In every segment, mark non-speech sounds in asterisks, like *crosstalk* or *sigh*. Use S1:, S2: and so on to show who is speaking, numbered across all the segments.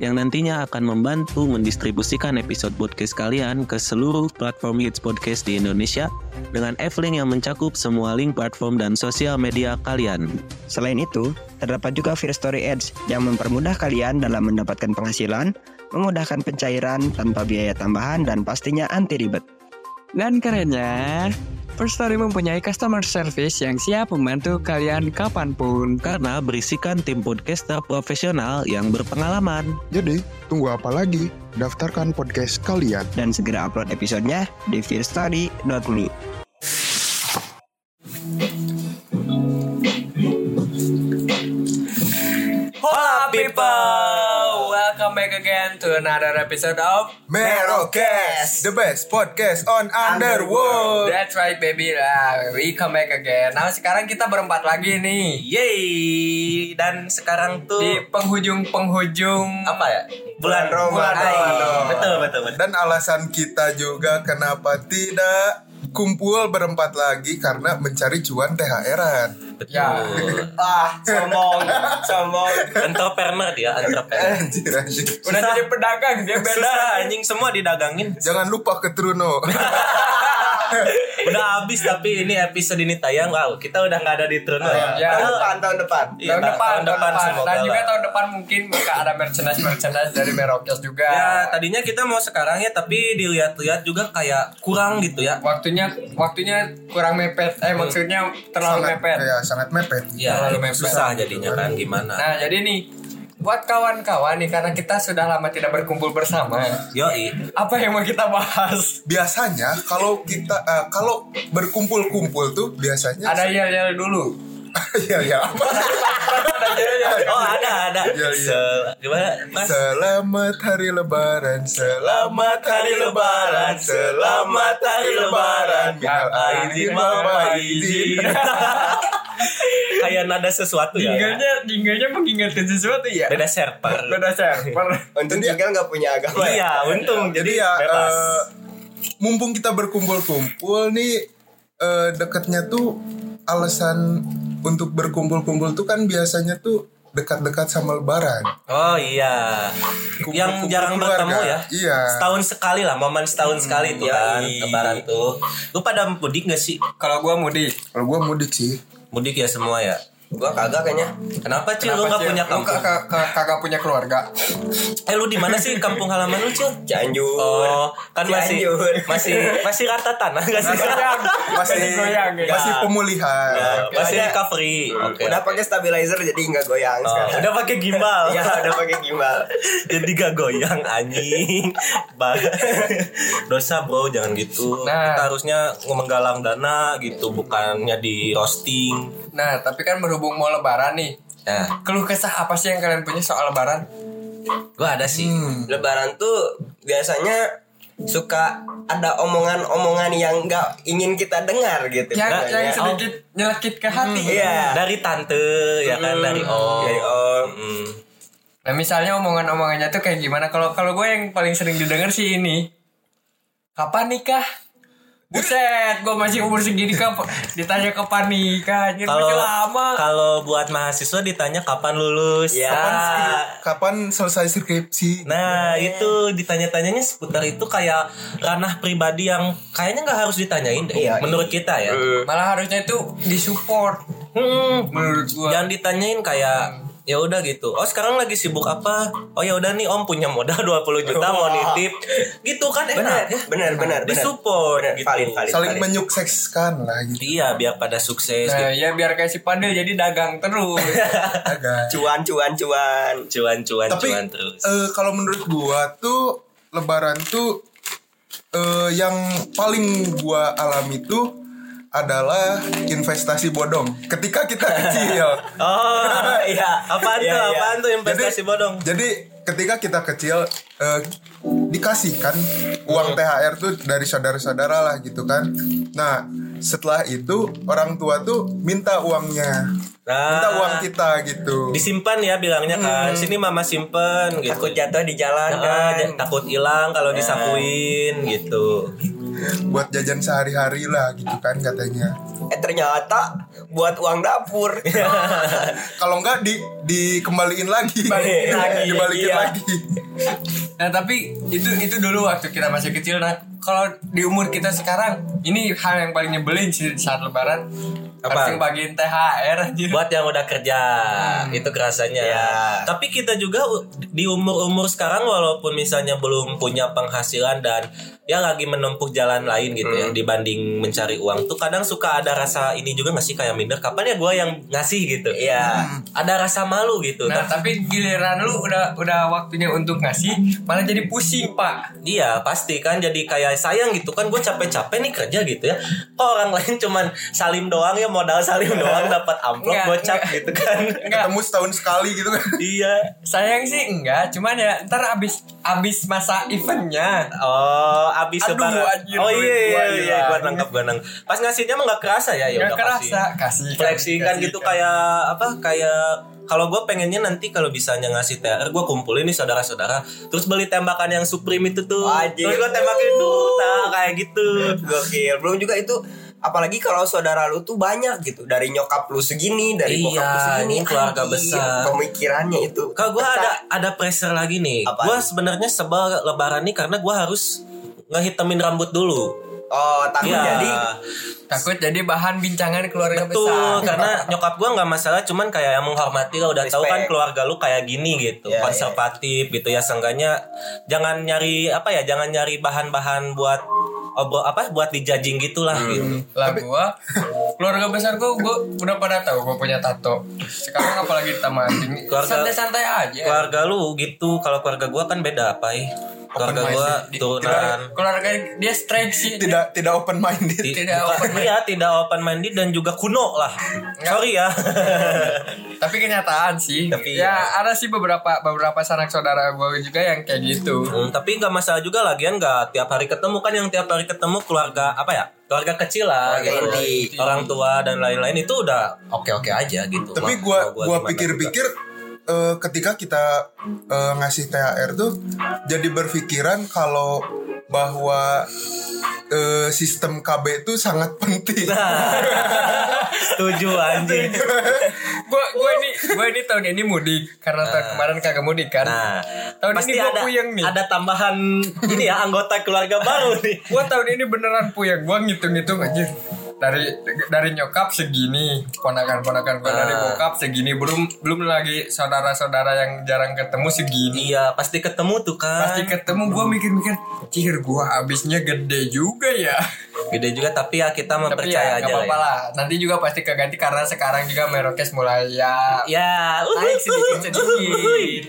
S1: yang nantinya akan membantu mendistribusikan episode podcast kalian ke seluruh platform hits podcast di Indonesia dengan F-Link yang mencakup semua link platform dan sosial media kalian.
S2: Selain itu, terdapat juga Fear Story Ads yang mempermudah kalian dalam mendapatkan penghasilan, memudahkan pencairan tanpa biaya tambahan dan pastinya anti ribet.
S3: Dan kerennya, First Story mempunyai customer service yang siap membantu kalian kapanpun.
S1: Karena berisikan tim podcaster profesional yang berpengalaman.
S4: Jadi, tunggu apa lagi? Daftarkan podcast kalian.
S2: Dan segera upload episodenya di fearstory.me.
S5: Hola people, welcome back again to another episode of
S6: Merocast, the best podcast on Underworld.
S5: That's right baby lah, we come back again. Nah sekarang kita berempat lagi nih
S6: Yeay, dan sekarang tuh
S5: di penghujung penghujung
S6: apa ya? Bulan
S5: Bulan Ramadan.
S6: Ramadan. Betul, betul, betul. Dan alasan kita juga kenapa tidak kumpul berempat lagi karena mencari cuan THR-an.
S5: Ya.
S2: Ah, sombong, sombong.
S7: entrepreneur dia entrepreneur
S6: Anjir, anjir.
S5: Udah jadi pedagang dia beda.
S7: susah anjing semua didagangin
S6: *laughs* Jangan lupa ke Truno.
S7: udah habis tapi ini episode ini tayang wow kita udah nggak ada di Truno ya,
S5: Ya.
S2: Tahun depan, tahun depan.
S7: Iya,
S5: tahun depan, tahun depan,
S7: semoga
S5: dan juga
S7: lah.
S5: tahun depan mungkin bakal ada merchandise merchandise dari Merokes juga.
S7: ya tadinya kita mau sekarang ya tapi dilihat-lihat juga kayak kurang gitu ya
S5: waktunya waktunya kurang mepet. Eh maksudnya terlalu mepet.
S6: Ya, sangat mepet.
S7: ya
S5: Terlalu mepet.
S7: susah jadinya kan gimana
S5: Nah, jadi nih buat kawan-kawan nih karena kita sudah lama tidak berkumpul bersama.
S7: yoi
S5: Apa yang mau kita bahas?
S6: Biasanya kalau kita eh, kalau berkumpul-kumpul tuh biasanya
S5: Ada yel-yel dulu.
S6: ya ya apa?
S7: oh ada ada
S6: Iya, iya.
S7: Se- gimana mas
S6: Selamat hari lebaran, selamat hari lebaran, selamat hari lebaran.
S7: Ya,
S6: Minal aidin wal faizin.
S7: *laughs* kayak nada sesuatu ya
S5: Jinglenya jinglenya mengingatkan sesuatu ya.
S7: beda server
S5: Beda server.
S2: Untung tinggal nggak punya agama. ya.
S7: iya untung
S6: Jadi
S7: jadi
S6: ya
S7: bebas
S6: eh, mumpung kita berkumpul-kumpul nih eh, dekatnya tuh alasan untuk berkumpul-kumpul tuh kan biasanya tuh dekat-dekat sama lebaran.
S7: Oh iya, yang
S6: Kumpul-kumpul
S7: jarang
S6: keluarga.
S7: bertemu ya.
S6: Iya.
S7: Setahun sekali lah, momen setahun sekali tuh kan,
S6: yoi.
S7: Lebaran tuh. Lu pada mudik gak sih?
S5: Kalau gua mudik,
S6: Kalau gua mudik sih.
S7: Mudik ya semua ya.
S2: Gua kagak kayaknya.
S7: Kenapa cil
S5: Kenapa,
S7: lu gak
S5: Cil?
S7: punya
S5: Iya, Lu
S7: kampung?
S5: ka- ka- ka- kagak punya keluarga.
S7: Eh lu di mana sih kampung halaman lu cil?
S2: Cianjur.
S7: Oh, kan masih
S2: Cianjur.
S7: masih masih rata
S2: *laughs*
S7: tanah gak sih?
S6: Masih
S5: goyang, ya?
S6: masih pemulihan.
S7: Eh, masih
S2: Ada-
S7: recovery. Oke.
S2: Ya, Udah pakai stabilizer jadi nggak goyang
S7: Oh,
S2: sekarang.
S6: *laughs*
S7: udah pakai gimbal.
S2: *laughs* Ya, udah pakai gimbal.
S7: *laughs* Jadi gak goyang anjing. Ba- *laughs* Dosa bro, jangan gitu.
S5: Nah.
S7: Kita harusnya menggalang dana gitu, bukannya di roasting.
S5: Nah, tapi kan berhubung mau lebaran nih.
S7: Nah,
S5: Keluh kesah apa sih yang kalian punya soal lebaran?
S7: gue ada sih.
S6: Hmm.
S2: Hmm. Lebaran tuh biasanya suka ada omongan-omongan yang nggak ingin kita dengar gitu.
S5: Yang
S2: Makanya,
S5: Ya, yang sedikit nyelekit ke hati.
S2: Iya. oh,
S7: Dari tante, ya kan
S2: Hmm.
S7: dari om.
S2: Dari om.
S7: Mm.
S5: Nah, misalnya omongan-omongannya tuh kayak gimana? Kalau kalau gue yang paling sering didengar sih ini. Kapan nikah? Buset, gue masih umur segini kap ditanya kapan nikah? Anjir,
S7: Kalau
S5: masih lama.
S7: kalau buat mahasiswa ditanya kapan lulus.
S2: Ya.
S7: Nah,
S6: Kapan selesai skripsi?
S7: Nah,
S2: Iya.
S7: itu ditanya-tanyanya seputar itu kayak ranah pribadi yang kayaknya nggak harus ditanyain deh.
S2: Iya,
S7: menurut kita ya.
S5: Malah harusnya itu disupport
S7: Hmm,
S5: menurut gue.
S7: Jangan ditanyain kayak ya udah gitu. Oh, sekarang lagi sibuk apa? Oh ya udah nih Om punya modal *laughs* 20 juta mau nitip. Gitu kan
S2: Benar,
S7: enak ya.
S2: benar, benar, benar.
S7: Disupport
S8: Iya,
S2: Benar,
S7: gitu.
S2: valid, valid.
S6: Saling menyukseskan lah gitu.
S7: Iya, biar pada sukses gitu.
S5: Nah, ya biar kayak si Pandil jadi dagang terus.
S7: *laughs*
S6: Agak.
S2: Cuan, cuan, cuan.
S7: cuan cuan
S6: Iya kan? tapi
S7: cuan terus
S2: *laughs*
S6: eh, kalau menurut gua tuh lebaran tuh eh, yang paling gua alami tuh adalah investasi bodong ketika
S7: *laughs*
S6: kita kecil
S7: oh iya
S2: Iya,
S7: apaan tuh
S2: iya.
S7: apaan tuh investasi bodong
S6: jadi ketika kita kecil eh,
S7: Hmm.
S6: dikasih kan uang THR tuh dari saudara-saudara lah gitu kan nah setelah itu orang tua tuh minta uangnya minta
S7: Ah. Nah.
S6: uang kita gitu
S7: disimpan ya bilangnya kan sini mama simpen gitu
S8: Mm-hmm. takut jatuh di jalan
S7: Ah,
S8: kan Ya.
S7: ja- takut hilang kalau disakuin gitu
S6: buat jajan sehari-hari lah gitu kan katanya
S8: eh ternyata buat uang dapur
S6: kalau enggak di dikembaliin lagi
S5: Balikin lagi,
S6: *laughs* dibalikin
S5: iya.
S6: lagi
S5: Nah tapi itu itu dulu waktu kita masih kecil Nah kalau di umur kita sekarang Ini hal yang paling nyebelin sih saat lebaran Harus
S7: Apa?
S5: bagian THR anjir.
S7: *laughs* buat yang udah kerja itu kerasanya
S8: Ya.
S7: tapi kita juga u- di umur umur sekarang walaupun misalnya belum punya penghasilan dan ya lagi menempuh jalan lain gitu
S8: Hmm.
S7: ya dibanding mencari uang tuh kadang suka ada rasa ini juga nggak sih kayak minder kapan ya gue yang ngasih gitu ya
S8: Iya.
S7: ada rasa malu gitu
S5: Nah tapi giliran lu udah udah waktunya untuk ngasih Malah jadi pusing pak
S7: Iya pasti kan jadi kayak sayang gitu kan gue capek-capek nih kerja gitu ya Kok orang lain cuman salim doang ya modal salim
S5: *laughs*
S7: doang dapat amplop
S5: Enggak,
S7: gocap
S5: enggak.
S7: gitu
S5: *laughs*
S7: kan
S5: Enggak
S6: ketemu setahun sekali gitu kan
S7: Iya
S5: sayang sih enggak Cuman ya ntar abis, abis masa eventnya
S7: Oh abis
S5: Aduh,
S7: lebaran
S5: anjir,
S7: Oh
S5: duit gua
S7: iya iya iya
S5: hilang.
S7: gue nangkep gue nangkep Pas ngasihnya mah gak kerasa ya ya
S5: Gak
S7: udah
S5: kerasa Kasih
S7: Flexing kan gitu kayak apa kayak kalau gue pengennya nanti kalau bisanya ngasih TR gue kumpulin nih saudara-saudara terus beli tembakan yang Supreme itu tuh
S8: Wajib.
S7: terus gue tembakin dulu nah kayak gitu
S8: gokil belum juga itu apalagi kalau saudara lu tuh banyak gitu dari nyokap lu segini dari bokap lu
S7: Iya,
S8: segini
S7: ini keluarga
S8: Anjir,
S7: besar.
S8: pemikirannya itu
S7: Kak gue ada ada pressure lagi nih.
S8: Apa?
S7: Gue sebenarnya sebel lebaran nih karena gue harus ngehitamin rambut dulu.
S8: oh takut
S7: Iya.
S8: jadi
S5: Takut jadi bahan bincangan keluarga
S7: Betul,
S5: besar
S7: karena nyokap gue nggak masalah, cuman kayak yang menghormati lah udah tahu
S8: Respect.
S7: kan keluarga lu kayak gini gitu,
S8: Iya, iya.
S7: konservatif gitu ya seenggaknya jangan nyari apa ya, jangan nyari bahan-bahan buat obrol apa buat dijajing gitulah
S8: Hmm.
S7: gitu.
S5: lah gua keluarga besar gua gua udah pada tahu gua punya tato sekarang apalagi tamatin
S7: Keluarga-
S5: santai-santai
S8: Iya.
S5: aja
S7: Keluarga lu gitu, kalau keluarga gue kan beda apa ya? Keluarga
S6: Open
S7: gue
S6: minded.
S7: turunan
S5: keluarga dia straight sih
S6: tidak tidak open minded
S7: Ti-
S5: tidak
S7: bukan-
S5: open minded.
S7: iya, tidak open minded dan juga kuno lah. Sorry ya. *laughs*
S5: tapi kenyataan sih
S7: Tapi
S5: ya
S7: ya.
S5: ada sih beberapa beberapa sanak saudara gua juga yang kayak gitu
S7: Hmm, tapi nggak masalah juga lagian nggak tiap hari ketemu kan yang tiap hari ketemu keluarga apa ya keluarga kecil lah
S8: Keluarga
S7: gitu.
S8: inti.
S7: orang tua dan lain-lain itu udah oke oke aja gitu
S6: tapi
S7: Mau-
S6: gua
S7: mau gua
S6: gua
S7: gimana *laughs*
S6: pikir-pikir eh, ketika kita eh, ngasih THR tuh jadi berpikiran kalau bahwa eh, sistem KB itu sangat penting.
S7: juga. Nah, setuju anjing
S5: gua gua ini gua ini tahun ini mudik karena tahun kemarin kagak mudik kan
S7: Ah. nah
S5: tahun
S7: pasti
S5: ini gua
S7: ada
S5: puyeng nih
S7: ada tambahan *laughs* ini ya anggota keluarga baru
S5: *laughs*
S7: nih
S5: gua tahun ini beneran puyeng gua ngitung-ngitung aja dari dari nyokap segini ponakan-ponakan gua dari
S7: Ah.
S5: bokap segini belum belum lagi saudara-saudara yang jarang ketemu segini
S7: iya pasti ketemu tuh kan
S5: pasti ketemu gua mikir-mikir cihir gua habisnya gede juga ya
S7: gede juga tapi ya kita
S5: tapi ya
S7: mempercaya
S5: nggak
S7: aja lah
S5: apa-apa
S7: ya.
S5: lah nanti juga pasti keganti karena sekarang juga merokes mulai ya
S7: Ya,
S5: Naik uhuh, sedikit-sedikit.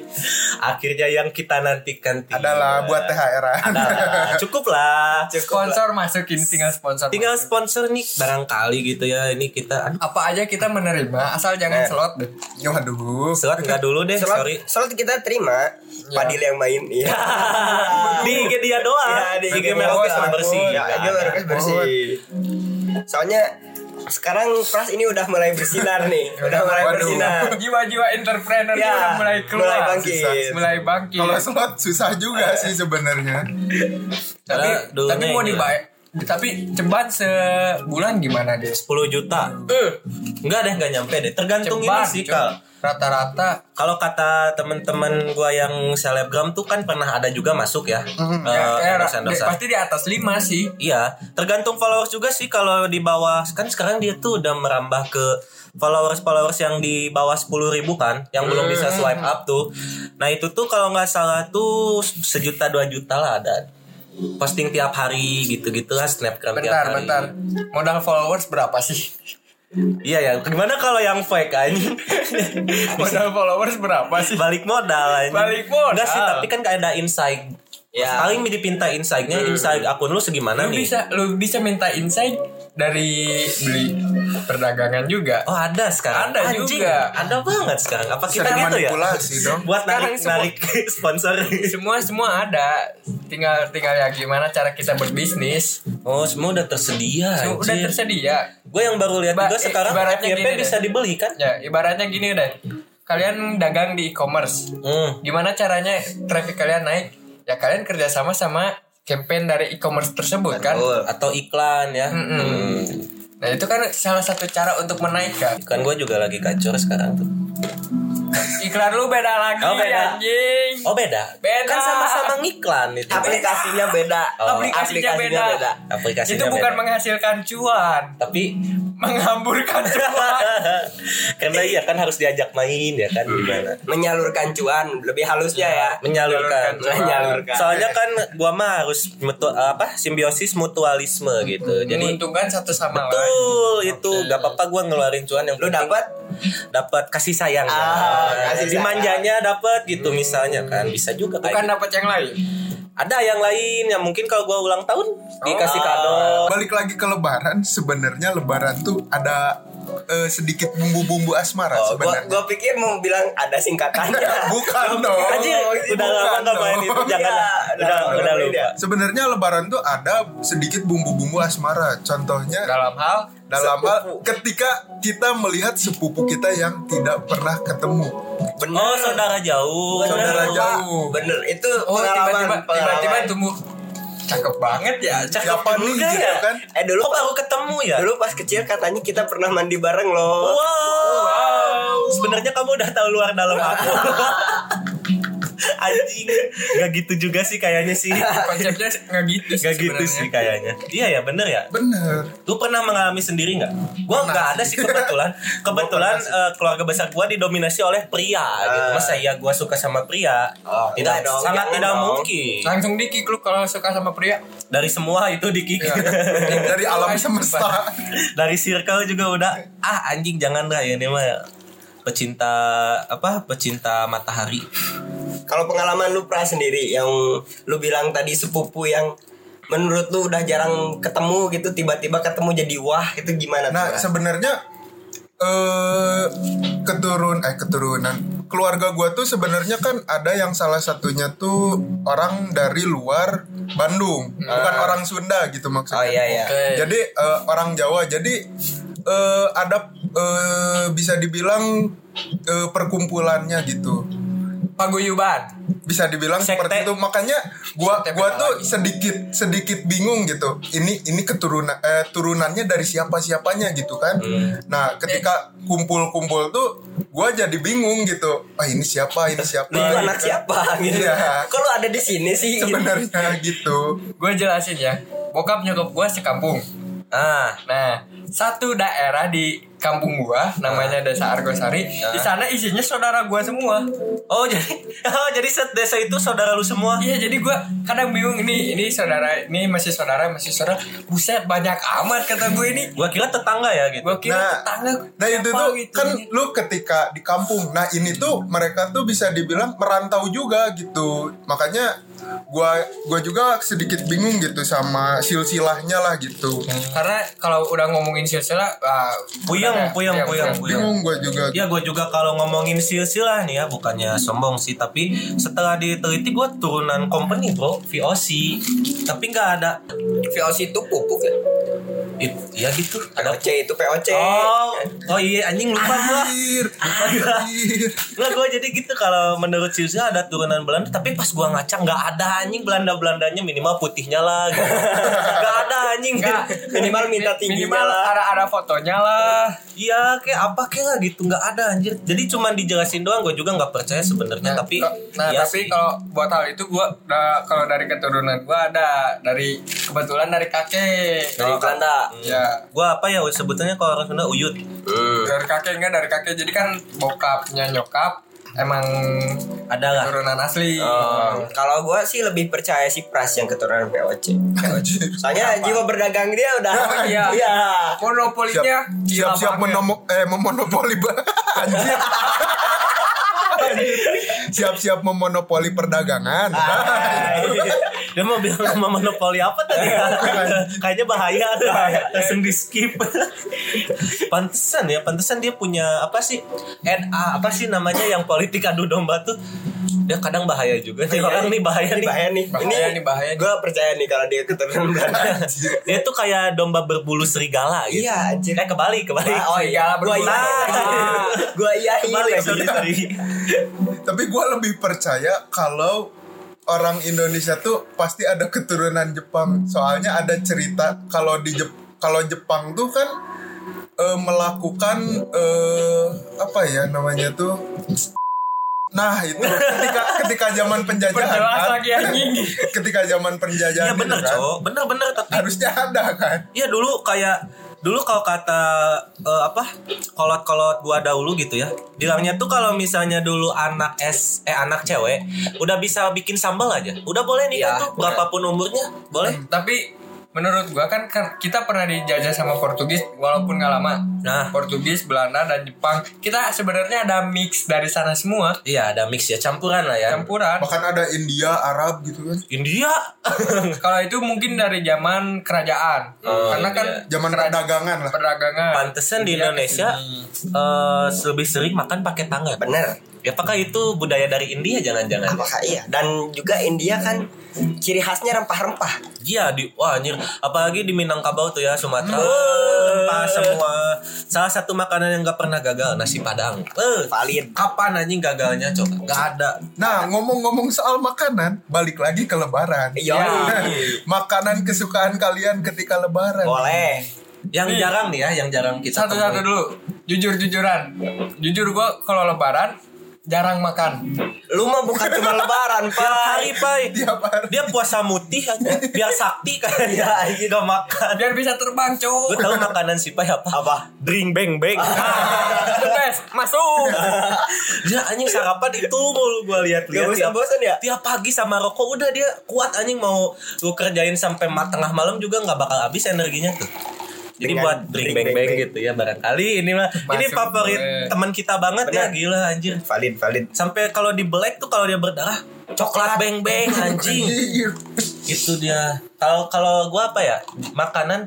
S7: Akhirnya yang kita nantikan tiba.
S6: Adalah buat THR-an.
S7: Adalah. Cukup lah.
S5: sponsor masukin tinggal sponsor
S7: Tinggal sponsor nih barangkali gitu ya. Ini kita
S5: apa aja kita menerima asal jangan slot deh
S6: Ya waduh.
S7: Selat nggak dulu deh,
S8: Slot,
S7: sorry.
S8: slot kita terima Padil yang main
S7: *laughs*
S8: iya
S7: di IG dia doang.
S8: Ya, di IG
S7: Merokes
S8: doang.
S7: bersih.
S8: Ya, IG Merokes bersih. Soalnya sekarang Pras ini udah mulai bersinar nih, udah mulai
S6: waduh.
S8: bersinar.
S5: jiwa-jiwa entrepreneur
S8: Ya,
S5: udah mulai keluar
S8: mulai bangkit.
S5: mulai bangkit
S6: *laughs* Kalau slot susah juga sih sebenarnya.
S5: tapi
S7: Karena dulunya
S5: tapi mau
S7: ini
S5: dibayar tapi ceban sebulan gimana deh
S7: 10 juta. Enggak deh, nggak nyampe deh. Tergantung
S5: ceban
S7: ini sih,
S5: cuy.
S7: Kal.
S5: rata-rata
S7: Kalau kata teman-teman gua yang selebgram tuh kan pernah ada juga masuk ya. Eh,
S5: ya, kayak ra-
S7: endorse-endorsean.
S5: pasti di atas 5 sih
S7: Iya, tergantung followers juga sih kalau di bawah kan sekarang dia tuh udah merambah ke followers-followers yang di bawah 10.000 ribu kan, yang belum bisa
S5: Hmm.
S7: swipe up tuh. Nah itu tuh kalau nggak salah tuh sejuta dua juta lah ada posting tiap hari gitu-gitu lah snapgram tiap
S5: bentar
S7: hari.
S5: bentar modal followers berapa sih
S7: Iya ya, gimana kalau yang fake
S5: *laughs*
S7: anjing?
S5: modal followers berapa sih
S7: Balik modal anjing.
S5: Balik modal.
S7: Enggak sih, tapi kan kayak ada insight.
S8: Ya.
S7: Paling dipinta insight-nya, insight akun lu segimana
S5: Hmm. lu
S7: nih?
S5: bisa lu bisa minta insight dari beli perdagangan juga.
S7: Oh ada sekarang
S5: Ada
S7: Anjing,
S5: juga.
S7: Ada banget sekarang Apa kita
S6: Sering
S7: gitu ya
S6: manipulasi dong.
S7: *laughs* Buat
S5: Sekarang
S7: narik,
S5: semua-
S7: narik *laughs* sponsor
S5: Semua semua ada. Tinggal tinggal ya gimana cara kita berbisnis.
S7: Oh semua udah tersedia
S5: Semua udah
S7: anjir.
S5: tersedia.
S7: Gue yang baru lihat
S5: Ba-
S7: juga
S5: eh,
S7: sekarang
S5: ibaratnya
S7: FYP
S5: gini deh.
S7: bisa dibeli kan
S5: Ya, ibaratnya gini deh. Kalian dagang di e-commerce.
S7: Hmm
S5: Gimana caranya traffic kalian naik? Ya kalian kerjasama sama campaign dari e-commerce tersebut kan?
S7: Atau iklan ya
S5: Mm-mm.
S7: Hmm.
S5: Nah itu kan salah satu cara untuk menaikkan
S7: Iklan gue juga lagi kacor sekarang tuh
S5: Iklan lu beda lagi
S7: Oh, beda.
S5: anjing
S7: Oh beda
S5: Beda.
S7: Kan sama-sama ngiklan itu
S8: aplikasinya beda
S7: Oh,
S5: Aplikasinya, beda.
S7: Aplikasinya
S5: Itu bukan
S7: beda.
S5: menghasilkan cuan
S7: Tapi
S5: Menghamburkan cuan
S7: *laughs* Karena iya kan harus diajak main ya kan gimana
S8: menyalurkan cuan lebih halusnya ya
S7: Nah, menyalurkan Nah,
S8: Menyalurkan.
S7: soalnya kan gua mah harus mutu, apa simbiosis mutualisme gitu
S5: Hmm.
S7: jadi
S5: Menguntungkan satu sama lain
S7: betul itu gak apa-apa gua ngeluarin cuan yang
S8: lu
S7: penting
S8: dapat
S7: dapat kasih sayang
S8: Ah,
S7: ya.
S8: kasih
S7: dimanjanya dapat gitu misalnya kan bisa juga kayak
S5: Bukan
S7: gitu.
S5: dapat yang lain
S7: ada yang lain yang mungkin kalau gua ulang tahun dikasih kado Oh,
S6: Balik lagi ke Lebaran, sebenarnya Lebaran tuh ada eh, sedikit bumbu-bumbu asmara
S8: oh, gua,
S6: sebenarnya.
S8: gua pikir mau bilang ada singkatannya
S6: Bukan dong.
S7: Anjir, udah
S6: Bukan
S7: lama gak
S6: dong.
S7: main itu jangan
S8: Iya,
S7: lah. udah
S8: udah
S7: udah
S8: lama
S7: lupa
S8: ya.
S6: Sebenarnya Lebaran tuh ada sedikit bumbu-bumbu asmara. Contohnya
S5: Dalam hal
S6: dalam hal ketika kita melihat sepupu kita yang tidak pernah ketemu
S8: bener
S7: oh saudara jauh
S6: saudara jauh
S8: bener itu
S5: Oh tiba-tiba
S8: pengalaman
S5: Tiba-tiba
S8: pengalaman.
S5: tumbuh Cakep banget ya
S7: Cakep
S6: siapa nih
S7: juga
S6: gitu
S7: ya.
S6: kan
S8: eh dulu
S7: Kok baru ketemu ya
S8: dulu pas kecil katanya kita pernah mandi bareng
S5: Oh.
S8: loh
S7: Wow. Sebenarnya kamu udah tahu luar dalam *laughs* aku. Anjing. Gak gitu juga sih kayaknya *laughs* sih.
S5: Konsepnya nggak gitu sih
S7: Gak gitu
S5: sebenarnya.
S7: sih kayaknya. Iya ya bener ya.
S6: bener
S7: Lu pernah mengalami sendiri nggak? Gua nggak ada sih kebetulan. Kebetulan eh, keluarga besar gua didominasi oleh pria. Gitu. Masa iya gua suka sama pria?
S8: Oh,
S7: tidak
S8: enggak dong,
S7: sangat
S8: jangan
S7: tidak
S8: dong.
S7: mungkin.
S5: Langsung dikik lu kalau suka sama pria
S7: Dari semua itu dikik.
S6: Iya.
S8: *laughs*
S6: dari alam semesta
S7: dari circle juga udah ah anjing jangan lah ini mah pecinta apa pecinta matahari
S8: kalau pengalaman lu pra sendiri yang lu bilang tadi sepupu yang menurut lu udah jarang ketemu gitu tiba-tiba ketemu jadi wah itu gimana tuh,
S6: nah
S8: Ra?
S6: sebenarnya eh keturun eh keturunan keluarga gua tuh sebenarnya kan ada yang salah satunya tuh orang dari luar Bandung bukan orang Sunda gitu maksudnya
S8: Ah. oh iya iya
S6: Jadi eh, orang Jawa. Jadi eh, ada eh, bisa dibilang eh, perkumpulannya gitu.
S5: Paguyuban
S6: Bisa dibilang
S7: Sekte.
S6: seperti itu. Makanya gua
S5: Sekte
S6: gua
S5: beda
S6: tuh sedikit sedikit bingung gitu. Ini ini keturunan eh, turunannya dari siapa-siapanya gitu kan. Nah, ketika kumpul-kumpul tuh gua jadi bingung gitu. Ah, ini siapa? Ini siapa?
S8: lu
S6: gitu
S8: anak
S6: kan.
S8: siapa gitu
S6: Iya.
S8: kok lu ada di sini sih gitu?
S6: Sebenarnya gitu.
S5: Gue jelasin ya Bokap nyokap gue sekampung
S7: ah
S5: Nah, satu daerah di kampung gua namanya Desa Argosari. Di sana isinya saudara gua semua.
S7: oh *laughs* jadi oh jadi set desa itu saudara lu semua
S5: Iya, jadi gua kadang bingung ini ini saudara, ini masih saudara, masih saudara. Buset, banyak amat kata gue ini.
S7: gua kira tetangga ya gitu
S5: Gua kira
S6: Nah,
S5: tetangga.
S6: Nah itu
S5: siapa
S6: tuh
S5: gitu.
S6: kan lu ketika di kampung. Nah ini tuh mereka tuh bisa dibilang merantau juga gitu. Makanya gua gua juga sedikit bingung gitu sama silsilahnya lah gitu.
S5: karena kalau udah ngomongin silsilah ah,
S7: Puyeng,
S5: udah,
S7: puyeng,
S5: iya,
S7: puyeng,
S5: iya.
S7: puyeng.
S6: Bingung gua juga.
S7: Ya gue juga kalau ngomongin silsilah nih ya Bukannya sombong sih Tapi setelah diteliti gue turunan company bro VOC Tapi nggak ada
S8: VOC itu pupuk ya
S7: It, Ya gitu ada
S8: POC itu POC
S7: Oh, oh iya anjing lupa gua.
S6: Anjir,
S5: Ah,
S7: Ada.
S6: anjir.
S7: Nggak gue jadi gitu kalau menurut Silsa ada turunan Belanda tapi pas gua ngaca nggak ada anjing Belanda Belandanya minimal putihnya lah gitu. nggak ada anjing
S5: Nggak,
S7: *laughs*
S8: minimal minta tingginya
S5: minimal
S8: lah.
S5: ada ada fotonya lah
S7: iya kayak apa kayak nggak gitu nggak ada anjir jadi cuman dijelasin doang gue juga nggak percaya sebenarnya tapi
S5: Nah, nah
S7: iya
S5: tapi
S7: sih.
S5: kalau buat hal itu gua da- kalau dari keturunan gua ada dari kebetulan dari kakek
S8: dari Belanda
S5: ya
S7: Gua apa ya sebutannya kalau orang Sunda uyut
S5: dari kakek enggak dari kakek jadi kan bokapnya nyokap emang
S7: adalah
S5: keturunan asli
S8: Oh,
S7: Iya.
S8: kalau gua sih lebih percaya si Pras yang keturunan POC. Soalnya jiwa berdagang dia
S7: *laughs*
S8: udah
S5: Iya.
S8: Iya.
S5: monopolinya gila
S6: Siap-siap
S5: banget.
S6: menomo- eh, memonopoli ba- *laughs*
S5: *laughs*
S6: anjir.
S5: Ah.
S6: Anjir. Siap-siap memonopoli perdagangan.
S7: Dia mau bilang sama monopoli apa tadi?
S8: Iya.
S7: Kayaknya bahaya. Langsung di skip. pantesan ya, pantesan dia punya apa sih? NA apa sih namanya yang politik adu domba tuh? Dia kadang bahaya juga.
S8: Iya.
S7: Nih orang nih bahaya
S8: Ini
S7: nih.
S8: bahaya nih.
S5: Bahaya nih, bahaya nih.
S8: Gue percaya nih kalau dia keturunan Belanda.
S7: *laughs* Dia tuh kayak domba berbulu serigala gitu.
S8: Iya, anjir.
S7: Eh kebalik, kebalik.
S5: Oh iya,
S8: Gua
S5: berbulu.
S8: iya.
S7: Ah.
S8: Gua iya.
S7: Kebalik, sorry, sorry.
S6: Tapi gue lebih percaya kalau orang Indonesia tuh pasti ada keturunan
S7: Hmm.
S6: Jepang. Soalnya ada cerita kalau di Jep- kalau Jepang tuh kan eh, melakukan eh, apa ya namanya tuh. Nah itu ketika ketika zaman penjajahan
S5: Perjelas
S6: kan.
S5: lagi anjing.
S6: *laughs* ketika zaman penjajahan
S7: Iya
S6: itu
S7: bener,
S6: kan,
S7: Cok. Bener-bener tapi
S6: harusnya ada kan
S7: Iya dulu kayak dulu kalau kata eh, apa kolot-kolot gua dahulu gitu ya bilangnya tuh kalau misalnya dulu anak S eh anak cewek udah bisa bikin sambal aja udah boleh nikah
S5: Iya,
S7: tuh
S5: bener.
S7: berapapun umurnya boleh
S5: Eh, Tapi menurut gua kan kan kita pernah dijajah sama Portugis walaupun nggak lama.
S7: Nah.
S5: Portugis, Belanda dan Jepang. Kita sebenarnya ada mix dari sana semua.
S7: iya ada mix ya campuran lah ya
S5: Campuran.
S6: bahkan ada India Arab gitu kan
S7: India
S5: Kalau itu mungkin dari zaman kerajaan.
S7: Oh,
S5: Karena kan
S7: iya.
S6: zaman perdagangan lah
S5: perdagangan.
S7: pantesan di
S5: India
S7: Indonesia
S5: kesini.
S7: eh lebih sering makan pakai tangan
S8: Bener.
S7: ya apakah itu budaya dari India jangan-jangan
S8: Apakah iya? Dan juga India kan ciri khasnya rempah-rempah.
S7: Iya di wah anjir apalagi di Minangkabau tuh ya Sumatera rempah semua salah satu makanan yang gak pernah gagal nasi padang eh valid kapan anjing gagalnya coba nggak ada
S6: nah ngomong-ngomong soal makanan balik lagi ke Lebaran
S8: Iya.
S6: Nah, makanan kesukaan kalian ketika Lebaran
S8: Boleh.
S7: yang jarang nih ya yang jarang kita
S5: satu satu
S7: temui.
S5: dulu. Jujur jujuran. Jujur gua kalau Lebaran jarang makan.
S8: Lu mah bukan cuma lebaran,
S7: Tiap
S8: Pak.
S7: hari pai
S6: Tiap hari.
S7: dia puasa mutih aja biar sakti kan ya anjing gak makan
S5: Biar bisa terbang,
S7: Gue *laughs*
S5: cowok.
S7: tahu makanan si pai apa apa drink beng beng
S8: Ah,
S5: The best. Masuk.
S7: dia Ya, anjing sarapan itu mulu gue lihat-lihat
S8: Gak bosan-bosan ya?
S7: tiap pagi sama rokok udah dia kuat anjing mau lu kerjain sampai ma- tengah malam juga nggak bakal habis energinya tuh jadi
S8: Dengan
S7: buat drink bang bang
S8: bang.
S7: gitu ya barangkali ini mah ini
S5: Masuk
S7: favorit
S5: boleh.
S7: teman kita banget ya gila anjir
S8: Valid, valid.
S7: sampai kalau di black tuh kalau dia berdarah coklat beng beng anjing
S6: Iya.
S7: itu dia kalau kalau gua apa ya makanan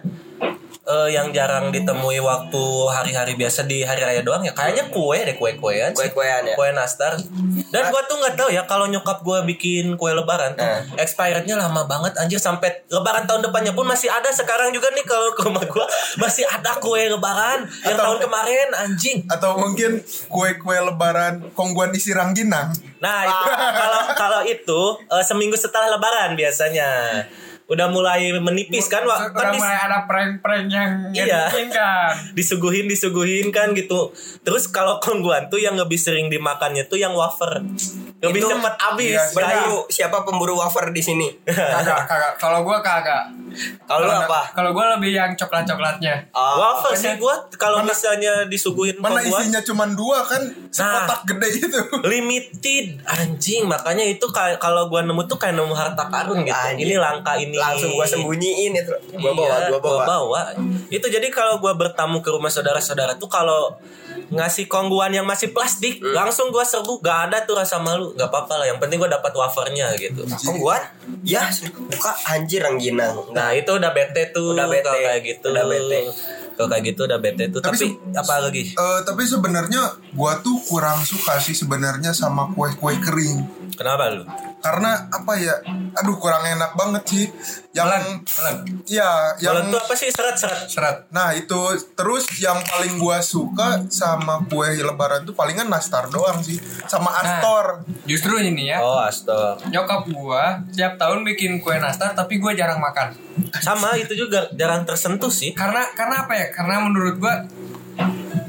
S7: eh, yang jarang ditemui waktu hari-hari biasa di hari raya doang ya kayaknya kue deh kue kuean
S8: Kue-kuean ya?
S7: kue nastar dan gua tuh nggak tahu ya kalau nyokap gua bikin kue lebaran tuh expirednya lama banget anjir sampai lebaran tahun depannya pun masih ada sekarang juga nih kalau ke rumah gua masih ada kue lebaran yang tahun kemarin anjing
S6: atau mungkin kue-kue Lebaran Kongguan isi rangginang
S7: Nah itu kalau kalau itu eh, seminggu setelah Lebaran biasanya udah mulai menipis kan waktu
S5: Udah mulai ada prank-prank yang
S7: Iya.
S5: kan.
S7: disuguhin disuguhin kan gitu. Terus kalau kongguan tuh yang lebih sering dimakannya tuh yang wafer. Lebih
S8: Itu-
S7: cepat habis.
S6: Iya,
S7: kayu.
S8: Bertahu siapa pemburu wafer di sini?
S5: Kagak, kagak. Kalau gua kagak.
S8: Kalau lu apa?
S5: Kalau gua lebih yang coklat-coklatnya.
S8: Ah,
S7: wafer
S5: mana-
S7: sih gua kalau misalnya disuguhin
S6: mana
S7: kongguan
S6: isinya cuman dua kan sekotak gede itu
S7: limited anjing makanya itu ka- kalau gua nemu tuh kayak nemu harta karun gitu.
S8: Anjing.
S7: Ini langka ini.
S8: langsung gua sembunyiin itu.
S7: Iya,
S8: Gua bawa, gua bawa.
S7: Itu jadi kalau gua bertamu ke rumah saudara-saudara tuh kalau ngasih kongguan yang masih plastik,
S8: Hmm.
S7: langsung gua serbu gak ada tuh rasa malu, gak apa-apa lah. Yang penting gua dapat wafernya gitu.
S8: Kok gua? Ya, buka anjir rengginang.
S7: Nah itu udah bete tuh
S8: Udah bete.
S7: kalau kayak gitu
S8: Udah bete.
S7: Kalau kayak gitu udah bete tuh
S6: Tapi
S7: Tapi,
S6: se-
S7: apa lagi?
S6: Eh, tapi sebenarnya gua tuh kurang suka sih sebenarnya sama kue-kue kering
S7: Kenapa lu?
S6: karena apa ya aduh kurang enak banget sih yang iya
S7: Kalau
S6: yang
S7: tuh apa sih seret-seret?
S5: Seret.
S6: nah itu terus yang paling gua suka sama kue lebaran tuh palingan nastar doang sih sama astor
S5: Justru ini ya.
S7: Oh astor
S5: Nyokap gua tiap tahun bikin kue nastar tapi gua jarang makan.
S7: Sama itu juga jarang tersentuh sih
S5: Karena karena apa ya? Karena menurut gua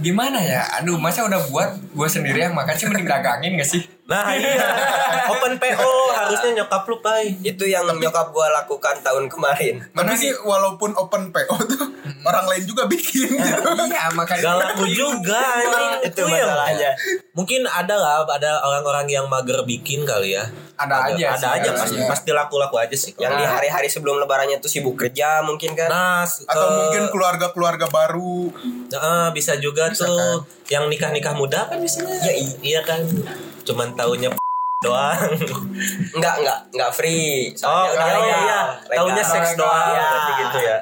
S5: gimana ya? Aduh, masa udah buat gua sendiri yang makan sih mending dagangin gak
S7: *laughs*
S5: sih?
S7: Nah
S6: *laughs*
S7: iya Open PO harusnya nyokap lu pai
S8: Itu yang nyokap gua lakukan tahun kemarin.
S6: tapi sih walaupun open PO *laughs* tuh orang lain juga bikin gitu
S5: iya,
S7: Gak
S5: makanya
S7: laku juga anjing
S8: Itu
S7: yang-
S8: masalahnya.
S7: Iya. Mungkin ada lah Ada orang-orang yang mager bikin kali ya
S5: ada aja.
S7: Ada
S5: sih,
S7: aja
S5: ada
S7: pasti,
S5: aja.
S7: pasti laku-laku aja sih Iya.
S8: Yang di hari-hari sebelum lebarannya tuh sibuk kerja mungkin kan.
S7: Nah
S6: atau
S7: eh,
S6: mungkin keluarga-keluarga baru
S7: Nah, bisa juga tuh yang nikah nikah muda kan biasanya.
S8: Ya, i-
S7: iya kan. Cuman tahunya
S8: *laughs*
S7: doang.
S8: Enggak, enggak, enggak free.
S7: Oh,
S8: Soalnya udah
S7: kalau
S8: legal,
S7: iya,
S8: legal.
S7: tahunya seks doang
S8: Iya.
S7: berarti gitu ya.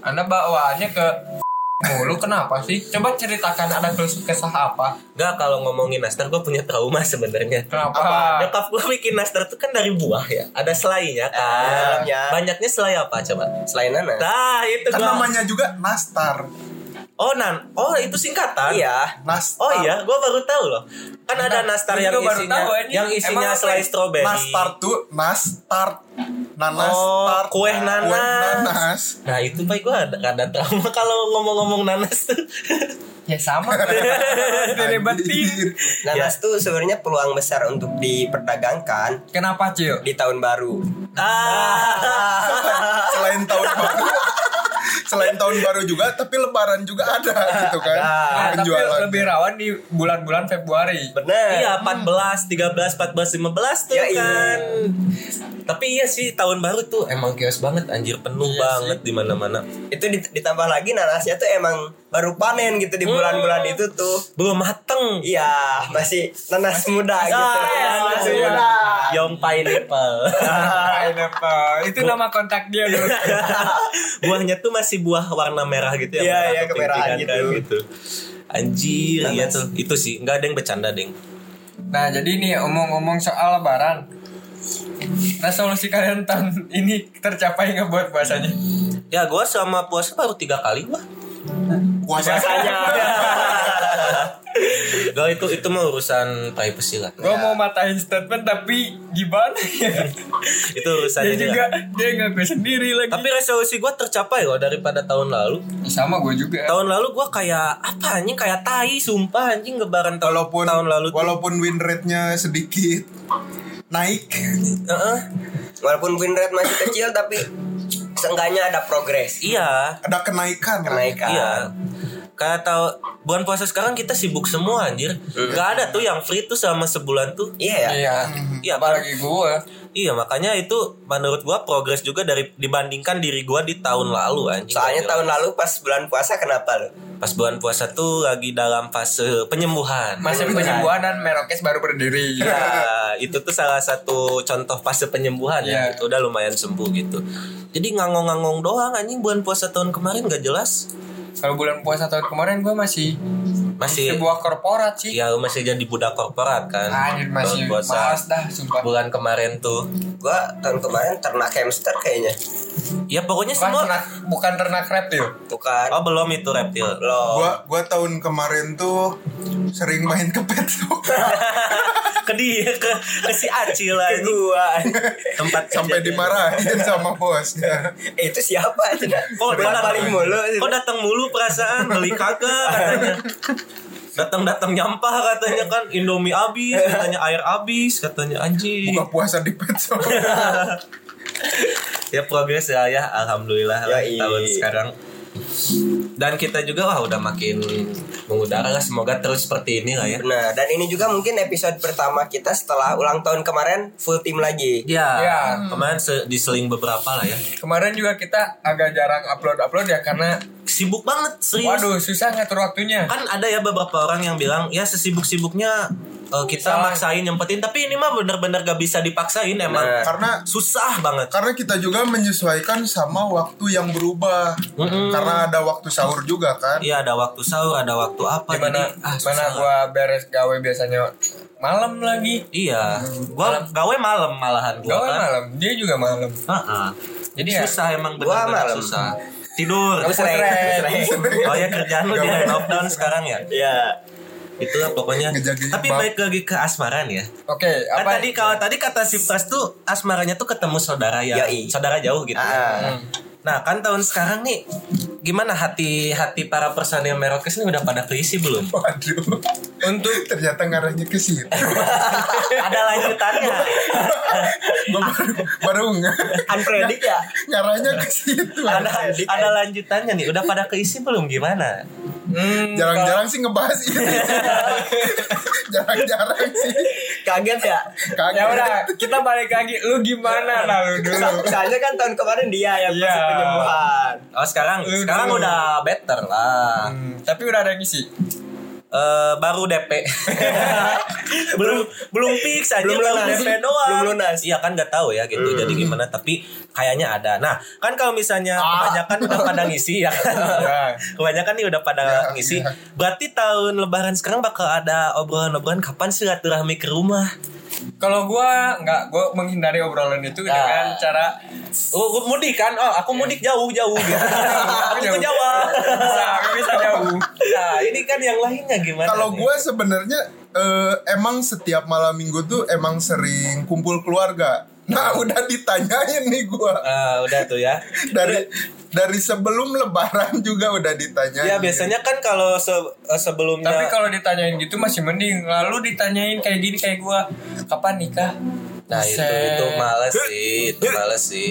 S5: Anda bawaannya ke *laughs* mulu kenapa sih? Coba ceritakan ada keluh kesah apa?
S7: Enggak, kalau ngomongin nastar gue punya trauma sebenarnya.
S5: Kenapa?
S7: Nyokap gue bikin nastar tuh kan dari buah ya. Ada selainya
S8: Di
S7: kan.
S8: dalamnya.
S7: Banyaknya selai apa coba?
S8: Selain Nana.
S7: Nah, itu
S6: Kan
S7: gua.
S6: namanya juga Nastar.
S7: Oh, nan. Oh, itu singkatan.
S8: Iya.
S6: Nastar.
S7: Oh iya, gue baru tahu loh. Kan ada nastar
S5: Gua
S7: yang
S5: juga baru
S7: isinya
S5: tahu, anjing.
S7: yang isinya
S5: Emang apa
S7: selai
S5: ya?
S7: stroberi.
S6: Nastar tuh Nastar. Nanas.
S7: Oh,
S6: tar.
S7: kue nanas.
S6: Kue
S7: *laughs*
S6: nanas.
S7: Nah, itu pak gue ada, ada trauma *laughs* kalau ngomong-ngomong nanas tuh. *laughs*
S5: Ya *laughs* sama. Direbatin.
S6: Anjir.
S8: Nanas
S7: iya.
S8: tuh sebenarnya peluang besar untuk diperdagangkan
S5: Kenapa, Cil?
S8: di tahun baru.
S7: ah.
S6: Selain tahun
S7: *laughs*
S6: baru. Selain tahun baru juga, tapi lebaran juga ada gitu kan.
S5: Ah, tapi
S6: penjualan.
S5: lebih rawan di bulan-bulan Februari.
S7: Iya
S8: Benar.
S7: 14, 13, 14, 15 tuh
S8: Ya, iya.
S7: kan. Tapi iya sih tahun baru tuh emang chaos banget anjir penuh banget di mana-mana.
S8: Itu dit- ditambah lagi nanasnya tuh emang baru panen gitu di bulan-bulan itu tuh.
S7: Belum mateng.
S8: Iya, masih nanas muda
S7: Ya,
S8: gitu. nanas
S7: iya.
S8: muda.
S7: Yang pineapple.
S5: Ah. *laughs* Pineapple. Itu nama kontak dia dulu.
S7: *laughs* Buahnya tuh masih buah warna merah gitu ya.
S8: Iya,
S7: merah
S8: iya, kemerahan
S7: kepintikan kan gitu. Anjir, iya
S8: Nanas.
S7: tuh. Itu sih, enggak ada yang bercanda, Deng.
S5: Nah, jadi nih omong-omong soal lebaran. Resolusi kalian tahun ini tercapai nggak buat puasanya?
S7: Ya, gua selama puasa baru tiga kali gua.
S6: Puasanya.
S7: Gak itu itu mah urusan privacy lah.
S5: Gue mau matahin statement tapi gimana *laughs* ya?
S7: Itu
S5: dia
S7: urusannya dia.
S5: juga dia ngaku sendiri lagi.
S7: Tapi resolusi gua tercapai loh daripada tahun lalu.
S5: sama gue juga.
S7: Tahun lalu gua kayak apa anjing kayak tai sumpah anjing lebaran tahun,
S6: Walaupun
S7: tahun lalu tuh.
S6: walaupun win rate-nya sedikit naik.
S7: Heeh.
S8: Walaupun win rate masih kecil tapi seenggaknya ada progres.
S7: iya
S6: ada kenaikan, lah.
S8: Kenaikan.
S7: iya kayak tahu bulan puasa sekarang kita sibuk semua anjir nggak ada tuh yang free tuh selama sebulan tuh
S8: Iya ya.
S5: Iya.
S7: Iya,
S5: Apalagi gue.
S7: iya makanya itu menurut gua progres juga dari dibandingkan diri gua di tahun lalu anjing
S8: Soalnya
S7: Gila.
S8: tahun lalu pas bulan puasa kenapa lu?
S7: pas bulan puasa tuh lagi dalam fase penyembuhan
S5: Masih penyembuhan dan Merokes baru berdiri.
S7: Nah, itu tuh salah satu contoh fase penyembuhan ya.
S5: Iya.
S7: Gitu. Udah lumayan sembuh gitu. Jadi ngangong-ngangong doang anjing bulan puasa tahun kemarin gak jelas.
S5: Kalau bulan puasa tahun kemarin gue masih
S7: Masih
S5: sebuah korporat sih.
S7: ya masih jadi budak korporat kan.
S5: Anjir masih
S7: bulan puasa
S5: malas dah sumpah.
S7: bulan kemarin tuh.
S8: Gua tahun kemarin ternak hamster kayaknya.
S7: Ya pokoknya
S5: Bukan
S7: semua
S5: ternak, bukan ternak reptil.
S8: Bukan.
S7: Oh belum itu reptil.
S8: Loh.
S6: Gua gua tahun kemarin tuh sering main ke pet shop
S7: *laughs* ke dia ke, ke si Acil
S8: Ke
S7: anjing.
S8: gua. *laughs*
S7: Tempat
S6: sampai
S7: kejadian.
S6: dimarahin sama bosnya.
S8: Eh, itu siapa itu?
S7: Kok
S8: Bolak
S7: datang-
S8: balik mulu itu.
S7: Kok datang mulu perasaan beli kagak katanya. Datang-datang nyampah katanya kan Indomie habis,
S8: *laughs*
S7: katanya air habis, katanya anjing.
S6: Buka puasa di pet shop.
S7: Ya progres ya ya alhamdulillah lah
S8: Yoi.
S7: tahun sekarang. Dan kita juga wah udah makin mengudara lah semoga terus seperti ini lah ya.
S8: Nah, dan ini juga mungkin episode pertama kita setelah ulang tahun kemarin full team lagi.
S7: Ya,
S5: Ya.
S7: kemarin se- diseling beberapa lah ya.
S5: Kemarin juga kita agak jarang upload-upload ya karena
S7: Sibuk banget serius.
S5: waduh susah ngatur waktunya.
S7: Kan ada ya beberapa orang yang bilang ya sesibuk-sibuknya eh, kita
S5: Sama.
S7: maksain nyempetin tapi ini mah bener-bener gak bisa dipaksain emang.
S8: Bener.
S6: Karena
S7: Susah banget.
S6: karena kita juga menyesuaikan sama waktu yang berubah. Karena ada waktu sahur juga kan.
S7: Iya ada waktu sahur, ada waktu apa
S5: Gimana
S7: jadi ah
S5: mana
S7: susah lah.
S5: gua beres gawe biasanya malam lagi.
S7: Iya, gua gawe malam malahan gua.
S5: Hmm. Gawe
S7: kan.
S5: malam, dia juga malam.
S7: Heeh. Jadi
S5: Jadi ya,
S7: susah emang
S8: gua
S7: benar-benar
S8: malam.
S7: susah. Tidur.
S8: Pusreng.
S7: Oh ya kerjaan lu di lockdown sekarang ya.
S8: Ya.
S7: Itu lah pokoknya.
S6: Ngejagain
S7: Tapi
S6: bab.
S7: baik lagi ke asmaran ya.
S5: Oke,
S7: Kan
S5: apa?
S7: tadi kalau tadi kata si Pras tuh asmaranya tuh ketemu saudara ya,
S8: Yoi.
S7: saudara jauh gitu.
S8: Ah.
S7: Nah kan tahun sekarang nih gimana hati hati para personil Merokes ini udah pada keisi belum?
S6: Waduh. Untuk ternyata ngarahnya ke situ.
S7: *laughs* Ada lanjutannya.
S6: Gua baru baru nge-
S8: Unpredict ya.
S6: ngarahnya ke situ.
S7: ada ada lanjutannya nih. Udah pada keisi belum gimana?
S5: Hmm,
S6: Jarang-jarang sih ngebahas itu. *laughs* Jarang-jarang sih.
S8: Kaget ya.
S6: Kaget. Ya.
S5: ya udah, kita balik lagi. Lu
S7: Nah,
S5: gimana lalu dulu?
S8: So- Soalnya kan tahun kemarin dia yang
S5: Iya.
S8: masih penyembuhan.
S7: Oh sekarang
S5: Udah.
S7: sekarang udah better lah. *laughs*
S5: Hmm, tapi udah ada yang ngisi.
S7: Eh, baru DP. belum belum fix aja
S8: Belum
S7: baru
S8: lunas.
S7: DP doang
S8: Belum lunas.
S7: iya kan nggak tahu ya gitu jadi gimana tapi kayaknya ada nah kan kalau misalnya kebanyakan udah pada ngisi ya kan kebanyakan nih udah pada ngisi berarti tahun lebaran sekarang bakal ada obrolan-obrolan kapan silaturahmi ke rumah
S5: Kalau gua nggak, gua menghindari obrolan itu
S7: Nah.
S5: dengan
S7: *laughs*
S5: cara
S7: oh gua mudik kan oh aku mudik jauh jauh gitu *laughs* aku ke Jawa
S5: bisa, nggak bisa jauh.
S7: nah ini kan yang lainnya gimana
S6: Kalau
S7: nih?
S6: gue sebenarnya eh, emang setiap malam minggu tuh emang sering kumpul keluarga. Nah udah ditanyain nih gue
S7: Ah, udah tuh ya
S6: dari dari sebelum Lebaran juga udah ditanyain.
S7: Ya biasanya kan kalau se- eh, sebelumnya
S5: Tapi kalau ditanyain gitu masih mending. Lalu ditanyain kayak gini kayak gua, kapan nikah?
S7: Nah itu
S5: Buset.
S7: itu males sih, itu males sih.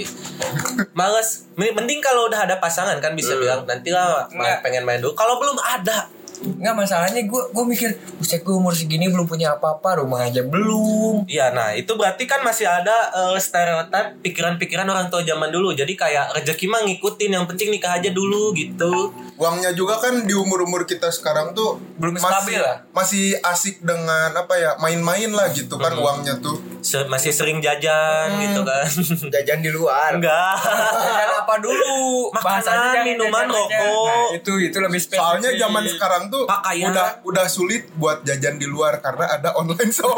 S7: Males. Men- Mending kalau udah ada pasangan kan bisa bilang nanti lah main-
S5: Nggak.
S7: pengen main dulu. Kalau belum ada,
S5: Nggak masalahnya gue gue mikir Buset gue umur segini belum punya apa-apa Rumah aja belum
S7: iya nah itu berarti kan masih ada eh, stereotip pikiran-pikiran orang tua zaman dulu. Jadi kayak rezeki mah ngikutin, yang penting nikah aja dulu gitu.
S6: Uangnya juga kan di umur-umur kita sekarang tuh
S5: Belum
S6: masih,
S5: stabil lah.
S6: masih asik dengan apa ya main-main lah gitu kan uangnya tuh.
S7: Se- masih sering jajan gitu kan.
S8: jajan di luar
S7: Enggak.
S5: Dan apa dulu
S7: Makanan,
S5: jangan
S7: minuman,
S5: jajan aja.
S7: rokok.
S5: Nah, Itu itu lebih spesifik
S6: Soalnya zaman sekarang tuh
S7: Pakaian.
S6: udah udah sulit buat jajan di luar karena ada online
S7: *laughs*
S6: shop.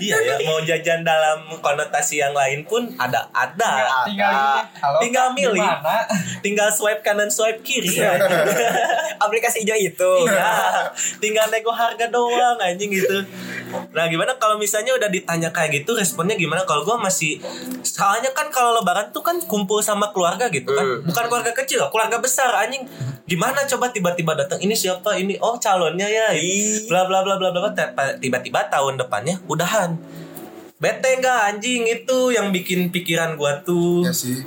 S7: iya ya, mau jajan dalam konotasi yang lain pun ada ada.
S5: Tinggal ini, halo,
S7: Tinggal
S5: Kak,
S7: milih.
S5: gimana?
S7: Tinggal swipe kanan, swipe kiri. *laughs*
S8: aplikasi hijau itu
S7: Iya, tinggal nego harga doang anjing gitu. Nah gimana kalau misalnya udah ditanya kayak gitu responnya gimana? Kalau gue masih soalnya kan kalau lebaran tuh kan kumpul sama keluarga gitu kan, bukan keluarga kecil, keluarga besar anjing. Gimana coba tiba-tiba datang ini siapa ini? Oh calonnya ya, bla bla bla bla bla. Tiba- Tiba-tiba tahun depannya udahan. Bete gak anjing itu yang bikin pikiran gua tuh
S6: ya sih.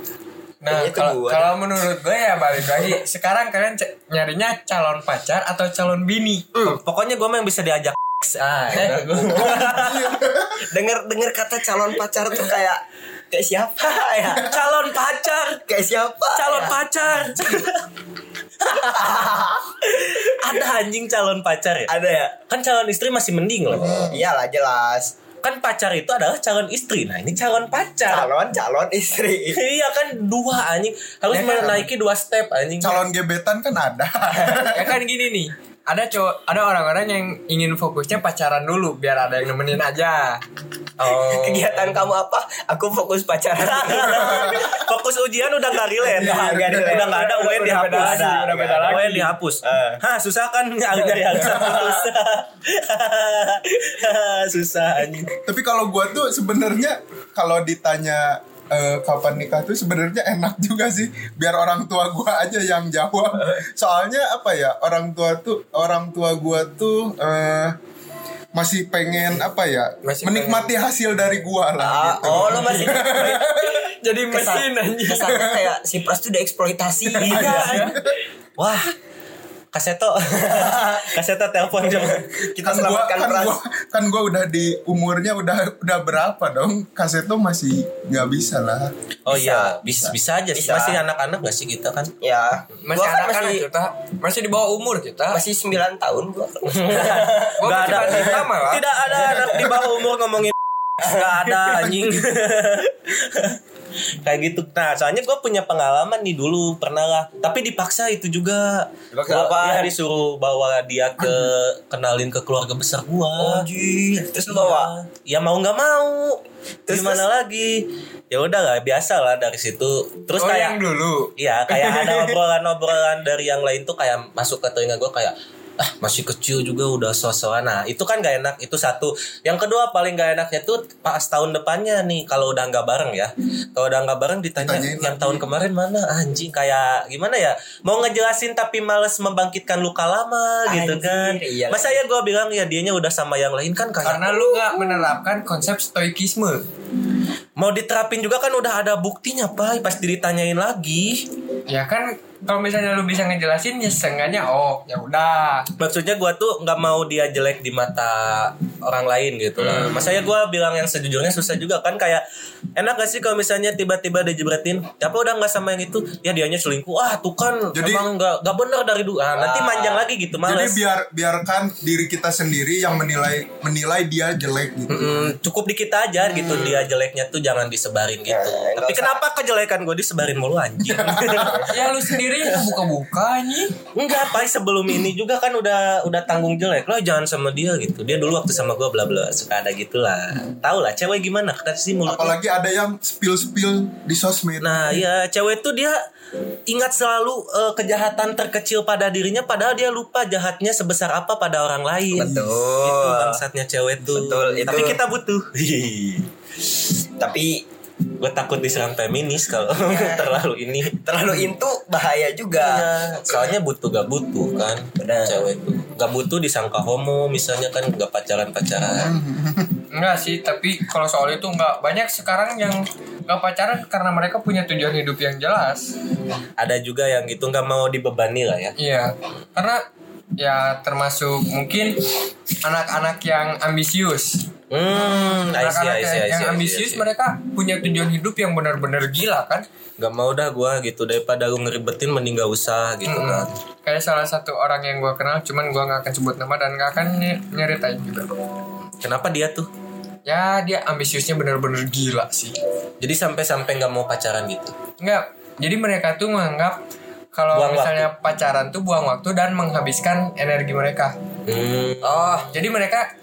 S5: Nah
S8: Kayaknya itu
S5: kalau
S8: gua.
S5: kalau menurut gue ya balik lagi Sekarang kalian ce- nyarinya calon pacar atau calon bini
S7: Pokoknya gua mah yang bisa diajak Ah,
S5: Eh,
S7: itu Hmm. gua.
S8: dengar dengar kata calon pacar tuh kayak kayak siapa *laughs* ya
S7: calon pacar
S8: kayak siapa
S7: calon
S8: ya?
S7: pacar ada anjing calon pacar ya
S8: ada ya
S7: kan calon istri masih mending loh
S8: iyalah jelas
S7: kan pacar itu adalah calon istri nah ini calon pacar
S8: calon calon istri
S7: iya kan dua anjing harus menaiki dua step anjing
S6: Calon gebetan kan ada.
S5: ya kan gini nih ada cowok ada orang-orang yang ingin fokusnya pacaran dulu biar ada yang nemenin aja
S7: oh.
S8: kegiatan kamu apa aku fokus pacaran
S7: *laughs* fokus ujian udah gak relate
S8: Iya, nggak relate.
S7: udah gak ada
S8: Udah-
S7: UN
S8: udah
S7: dihapus
S8: beda lagi, udah beda
S7: UN
S8: lagi.
S7: dihapus Hah susah kan nyari yang putus susah anjing
S6: Tapi kalau gua tuh sebenarnya kalau ditanya eh, kapan nikah tuh sebenarnya enak juga sih biar orang tua gua aja yang jawab. Soalnya apa ya orang tua tuh orang tua gua tuh eh, masih pengen apa ya
S5: Masih
S6: menikmati hasil dari gua lah.
S8: Ah,
S6: gitu.
S8: oh lo masih
S5: jadi mesin
S8: kesan,
S5: aja
S8: kesannya kayak si pras tuh dieksploitasi
S7: Iya. Wah. Kaseto. Kaseto telepon coba.
S8: kita
S6: Kan gua,
S8: selamatkan
S6: kan,
S8: pras
S6: gua, kan gua udah di umurnya udah udah berapa dong kaset tuh masih nggak bisa lah
S7: Oh
S8: Bisa,
S7: iya, bisa, bisa aja sih.
S8: Bisa.
S7: Masih anak-anak gak sih kita kan?
S8: ya
S5: masih
S8: gua kan
S5: anak anak
S8: masih
S5: kita masih di bawah umur kita
S8: masih 9 tahun
S5: *laughs*
S8: gua
S5: Gua
S7: Nggak
S5: masih banding sama lah
S7: Tidak ada anak di bawah umur ngomongin *laughs* Gak ada anjing *laughs* Kayak gitu Nah soalnya gue punya pengalaman nih dulu Pernah lah Tapi dipaksa itu juga
S8: Dipaksa
S7: Gua-
S8: apa?
S7: ya, disuruh bawa dia ke Kenalin ke keluarga besar gue
S8: Oh, anjir terus lo bawa
S7: Ya mau nggak mau
S8: Terus-
S7: Gimana lagi Ya udah lah biasa lah dari situ Terus
S5: oh
S7: kayak
S5: yang dulu
S7: Iya, kayak ada obrolan-obrolan dari yang lain tuh kayak masuk ke telinga gue kayak ah masih kecil juga udah sosokan nah itu kan gak enak itu satu yang kedua paling gak enaknya tuh pas tahun depannya nih kalau udah nggak bareng ya kalau udah nggak bareng ditanya
S6: Ditanyain
S7: yang tahun kemarin mana anjing kayak gimana ya mau ngejelasin tapi males membangkitkan luka lama gitu
S8: Anjir,
S7: kan
S8: iya.
S7: masa ya gue bilang ya dianya udah sama yang lain kan kayak
S5: karena lu nggak menerapkan konsep stoikisme
S7: mau diterapin juga kan udah ada buktinya pak pasti ditanyain lagi
S5: ya kan kalau misalnya lu bisa ngejelasin ya setengahnya oh ya udah
S7: maksudnya gua tuh nggak mau dia jelek di mata orang lain gitu lah.
S6: Hmm.
S7: Masanya gua bilang yang sejujurnya susah juga kan kayak enak gak sih kalau misalnya tiba-tiba dijebratin, apa udah nggak sama yang itu, ya dianya selingkuh. Ah, tuh kan
S6: Jadi-
S7: emang nggak nggak bener dari dulu. Ah, nanti manjang lagi gitu
S6: Jadi
S7: males.
S6: biar biarkan diri kita sendiri yang menilai menilai dia jelek gitu.
S7: Mm, cukup di kita aja gitu
S6: Hmm.
S7: dia jeleknya tuh jangan disebarin
S6: Ya,
S7: gitu. Tapi kenapa kejelekan gue disebarin mulu anjing?
S6: *laughs*
S7: *laughs*
S5: ya lu sendiri buka-buka nih
S7: Enggak, Pai sebelum ini juga kan udah udah tanggung jelek. Lo jangan sama dia gitu. Dia dulu waktu sama gue bla bla suka ada gitulah. Tahu lah cewek gimana kan sih mulut.
S6: Apalagi ada yang spill-spill di sosmed.
S7: Nah, ya cewek tuh dia ingat selalu eh, kejahatan terkecil pada dirinya padahal dia lupa jahatnya sebesar apa pada orang lain.
S8: Betul.
S7: Iya. Itu kan bangsatnya cewek tuh.
S8: Betul, itu.
S7: Tapi kita butuh.
S8: Tapi
S7: gue takut diserang feminis kalau *laughs* terlalu ini. Hmm.
S8: terlalu intu bahaya juga.
S7: Iya, soalnya butuh gak butuh kan
S8: Benar.
S7: cewek tuh gak butuh disangka homo misalnya kan gak
S5: Mhm.
S7: pacaran pacaran
S5: Enggak sih, tapi kalau soal itu enggak banyak sekarang yang enggak pacaran karena mereka punya tujuan hidup yang jelas.
S7: ada juga yang gitu nggak mau dibebani lah ya
S5: Iya, karena ya termasuk mungkin anak-anak yang ambisius.
S7: hmm I see,
S5: Anak-anak yang, yang
S7: I see, I see, I see,
S5: ambisius
S7: I see.
S5: mereka punya tujuan hidup yang benar-benar gila kan?
S7: Gak mau dah gua gitu daripada lu ngeribetin mending gak usah gitu
S5: Mhm.
S7: kan
S5: Kayak salah satu orang yang gua kenal, cuman gua nggak akan sebut nama dan nggak akan ny- nyeritain juga.
S7: kenapa dia tuh
S5: Ya dia ambisiusnya benar-benar gila sih.
S7: jadi sampai-sampai nggak mau pacaran gitu
S5: Enggak. Jadi mereka tuh menganggap kalau
S7: Buang
S5: misalnya pacaran tuh buang waktu dan menghabiskan energi mereka.
S7: hmm.
S5: Oh, jadi mereka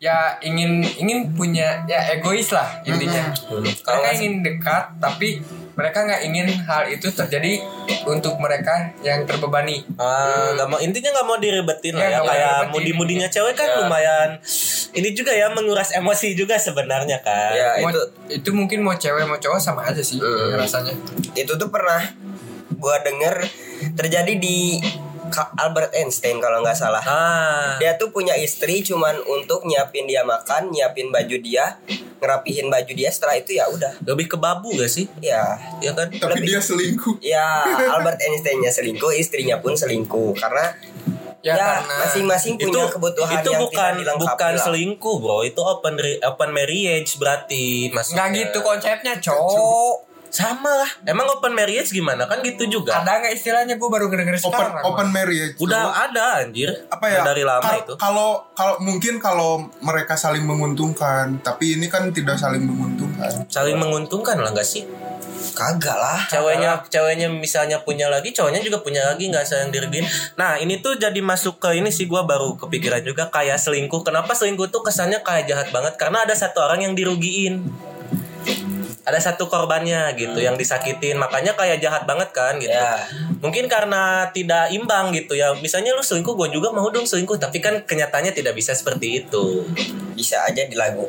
S5: ya ingin ingin punya ya egois lah intinya.
S7: Kalau
S5: Mereka
S7: nggak-
S5: ingin dekat tapi mereka nggak ingin hal itu terjadi untuk mereka yang terbebani.
S7: Ah, nggak mau intinya nggak mau diribetin lah
S5: Ya,
S7: ya,
S5: nggak mau Iya.
S7: kayak
S5: diribetin.
S7: mudi-mudinya cewek kan lumayan ini juga ya menguras emosi juga sebenarnya kan
S8: Ya,
S5: Mau-
S8: itu
S5: Iya, itu mungkin mau cewek mau cowok sama aja sih rasanya.
S7: Iya.
S8: itu tuh pernah gua denger terjadi di Ka- Albert Einstein kalau nggak salah.
S7: ah
S8: Dia tuh punya istri cuman untuk nyiapin dia makan, nyiapin baju dia, ngerapihin baju dia setelah itu ya udah.
S7: lebih ke babu gak sih
S8: Ya,
S7: ya kan
S6: Tapi dia selingkuh.
S7: *laughs*
S8: ya Albert Einsteinnya selingkuh, istrinya pun selingkuh karena
S5: Ya,
S8: ya,
S5: karena
S8: masing-masing punya kebutuhan
S7: itu
S8: yang
S7: bukan
S8: tidak dilengkapi
S7: bukan
S8: lah.
S7: selingkuh bro itu open re- open marriage berarti mas
S5: nggak gitu konsepnya, cowok.
S7: sama lah emang open marriage gimana kan gitu juga
S5: Ada nggak istilahnya gue baru denger
S6: Open
S5: sekarang.
S6: open marriage.
S7: udah ada anjir
S6: apa ya
S7: dari lama
S6: kal-
S7: itu
S6: kalau kalau mungkin kalau mereka saling menguntungkan tapi ini kan tidak saling menguntungkan
S7: saling menguntungkan lah gak sih
S8: Kagak lah.
S7: ceweknya ceweknya misalnya punya lagi cowoknya juga punya lagi nggak sayang diriin nah ini tuh jadi masuk ke ini sih gua baru kepikiran juga kayak selingkuh kenapa selingkuh tuh kesannya kayak jahat banget karena ada satu orang yang dirugiin ada satu korbannya gitu yang disakitin makanya kayak jahat banget kan gitu
S8: Ya.
S7: mungkin karena tidak imbang gitu ya misalnya lu selingkuh gua juga mau dong selingkuh tapi kan kenyataannya tidak bisa seperti itu
S8: Bisa aja di lagu.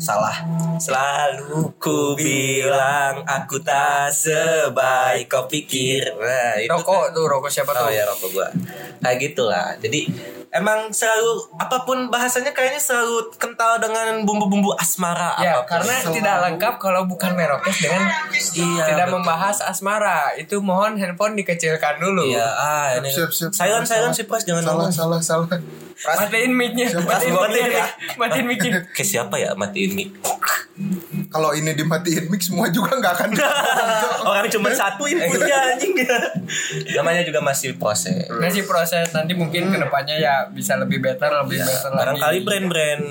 S8: Salah.
S7: Selalu ku bilang aku tak sebaik kau pikir. Nah, itu
S5: Rokok tuh rokok siapa tuh?
S7: oh ya rokok gua. Kayak gitulah. Jadi emang selalu apapun bahasanya kayaknya selalu kental dengan bumbu-bumbu asmara
S5: Ya,
S7: apapun.
S5: karena tidak lengkap kalau bukan merokes dengan
S7: Iya,
S5: tidak
S7: betul.
S5: membahas asmara. Itu mohon handphone dikecilkan dulu.
S7: Iya, ah ini.
S6: Siap, siap, siap.
S7: Silent, silent sih pas jangan
S6: salah
S7: ngomong.
S6: salah salah
S5: Matiin mic-nya. Matiin
S7: Siapa?
S5: mic-nya.
S7: ya? Siapa?
S5: Matiin
S7: *laughs*
S5: mic-nya.
S7: Ke siapa ya matiin mic?
S6: kalau ini dimatiin mix semua juga nggak
S7: *laughs*
S6: akan Iya.
S7: Orang cuma satu inputnya anjing. *laughs* Namanya juga masih ya. proses.
S5: Nah, sih proses nanti mungkin kedepannya ya bisa lebih better, lebih better lagi.
S7: Iya. Barangkali brand-brand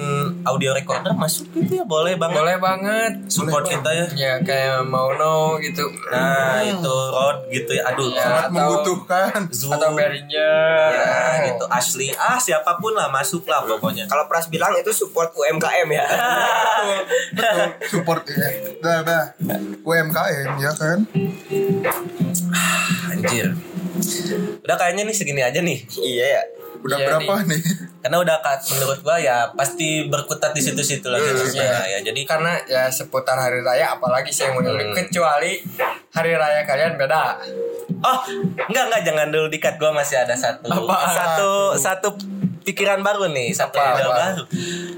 S7: audio recorder masuk gitu ya boleh banget.
S5: Boleh banget.
S7: support kita ya.
S5: Ya kayak mau no gitu.
S7: Nah, itu road gitu ya. Aduh,
S5: Ya, atau,
S6: membutuhkan
S7: Zoom.
S5: atau Iya. beringer.
S7: Ya, gitu. Asli, ah siapapun lah masuk lah pokoknya.
S5: *laughs*
S8: Kalau Pras bilang itu support UMKM
S7: *laughs*
S8: ya.
S6: support ya dah dah UMKM ya kan
S7: Anjir. Udah kayaknya nih segini aja nih.
S8: iya ya.
S6: udah
S5: Iya,
S6: berapa nih
S7: Karena udah ka- menurut gua ya pasti berkutat di situ-situ lagi
S5: Hmm.
S7: terusnya ya. Jadi kan
S5: Karena ya seputar hari raya apalagi sih yang mau dengerin. kecuali hari raya kalian beda.
S7: oh, enggak enggak jangan dulu dikat gua masih ada satu
S5: Apaan?
S7: satu satu pikiran baru nih, satu
S5: Apa,
S7: ide
S5: apa?
S7: baru.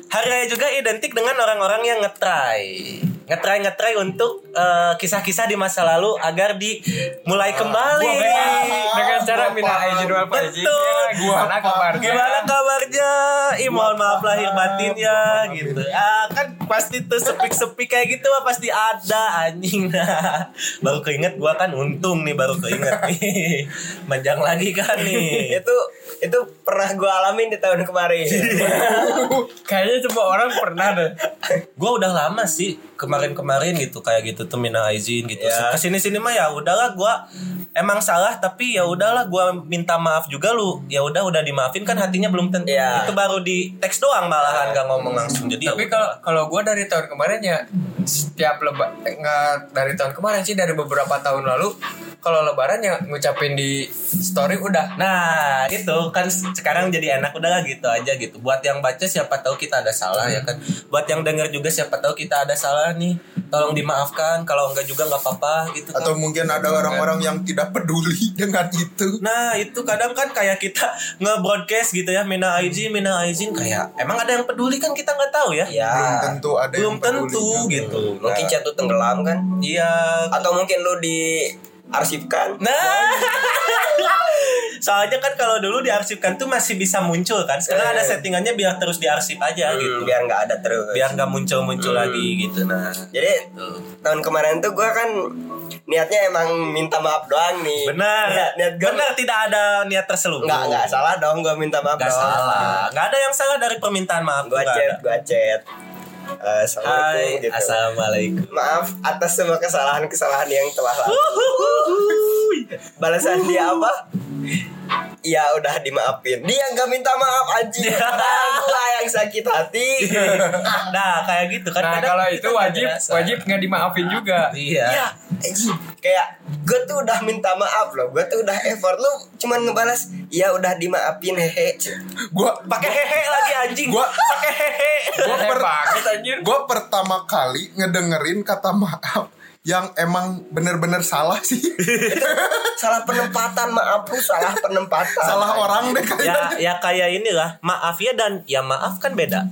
S7: Hari raya juga identik dengan orang-orang yang ngetrai. ngetry ngetry untuk eh, kisah-kisah di masa lalu agar dimulai kembali.
S5: Ah. Dengan, dengan cara minta izin wal faizin.
S7: Betul.
S5: Gimana kabar?
S7: Gimana kabarnya? Ih, mohon maaf lahir batin ya gitu. Ah, kan pasti tuh sepik-sepik kayak gitu mah pasti ada anjing. *laughs* Nah, baru keinget gua kan untung nih baru keinget nih. Manjang lagi kan nih.
S8: itu itu pernah gue alamin di tahun
S7: *laughs*
S8: kemarin
S5: Kayaknya semua orang pernah deh.
S7: Gua udah lama sih kemarin-kemarin gitu kayak gitu tuh minta izin gitu. Kesini-sini mah ya udahlah gua emang salah tapi ya udahlah gua minta maaf juga lu. Ya udah udah dimaafin kan hatinya belum tentu.
S8: Iya.
S7: Itu baru di teks doang malahan gak ngomong langsung. Jadi ya
S5: Tapi
S7: udah.
S5: kalau kalau gue dari tahun kemarin ya setiap lebar nggak dari tahun kemarin sih dari beberapa tahun lalu kalau lebaran ya ngucapin di story udah.
S7: Nah itu kan sekarang jadi enak udah lah gitu aja gitu Buat yang baca siapa tahu kita ada salah ya kan Buat yang denger juga siapa tahu kita ada salah nih Tolong dimaafkan kalau enggak juga nggak apa-apa gitu kan
S6: Atau mungkin ada orang-orang yang tidak peduli dengan itu.
S7: Nah itu kadang kan kayak kita nge-broadcast gitu ya Mina izin, Mina izin Kayak emang ada yang peduli kan kita nggak tahu ya
S6: Belum
S8: ya
S6: tentu ada
S7: Belum
S6: yang peduli
S7: tentu
S6: juga.
S7: gitu
S8: mungkin
S7: Nah,
S8: chat lu tenggelam kan
S7: Iya
S8: atau mungkin lu diarsipkan
S7: Nah *laughs* Soalnya kan kalau dulu diarsipkan tuh masih bisa muncul kan Sekarang ada settingannya biar terus diarsip aja
S8: Eh. Hmm,
S7: gitu
S8: biar nggak ada terus
S7: biar nggak muncul muncul lagi gitu nah
S8: jadi tahun kemarin tuh gue kan niatnya emang minta maaf doang nih
S7: benar
S8: niat, niat gue
S7: benar tidak ada niat terselubung
S8: nggak nggak salah dong gue minta maaf
S7: Nggak
S8: doang
S7: salah nggak ada yang salah dari permintaan maaf
S8: gue
S7: nggak
S8: chat
S7: ada.
S8: gue chat Eh, assalamualaikum
S7: Hai,
S8: gitu.
S7: assalamualaikum.
S8: maaf atas semua kesalahan-kesalahan yang telah lalu. Balasan dia apa? Ya udah dimaafin. Dia nggak minta maaf anjing. Padahal gua yang sakit hati.
S7: Nah, kayak gitu kan.
S5: Nah
S7: kadang
S5: kalau
S7: kita
S5: itu
S7: nggak
S5: wajib
S7: ngerasa.
S5: wajib nggak dimaafin juga.
S7: Iya.
S8: ya, anjing. kayak gue tuh udah minta maaf loh. Gue tuh udah effort lu cuman ngebalas. Ya udah dimaafin hehe.
S6: Gua
S7: Pakai hehe lagi anjing.
S6: Gua-
S7: pakai hehe.
S6: gua
S5: Hebat
S6: per-
S5: banget anjir.
S6: gue pertama kali ngedengerin kata maaf yang emang bener-bener salah sih
S8: Salah penempatan maaf lu salah penempatan.
S6: salah orang deh
S7: ya,
S6: kayaknya
S7: ya kayak inilah. Maaf ya dan ya maaf kan beda.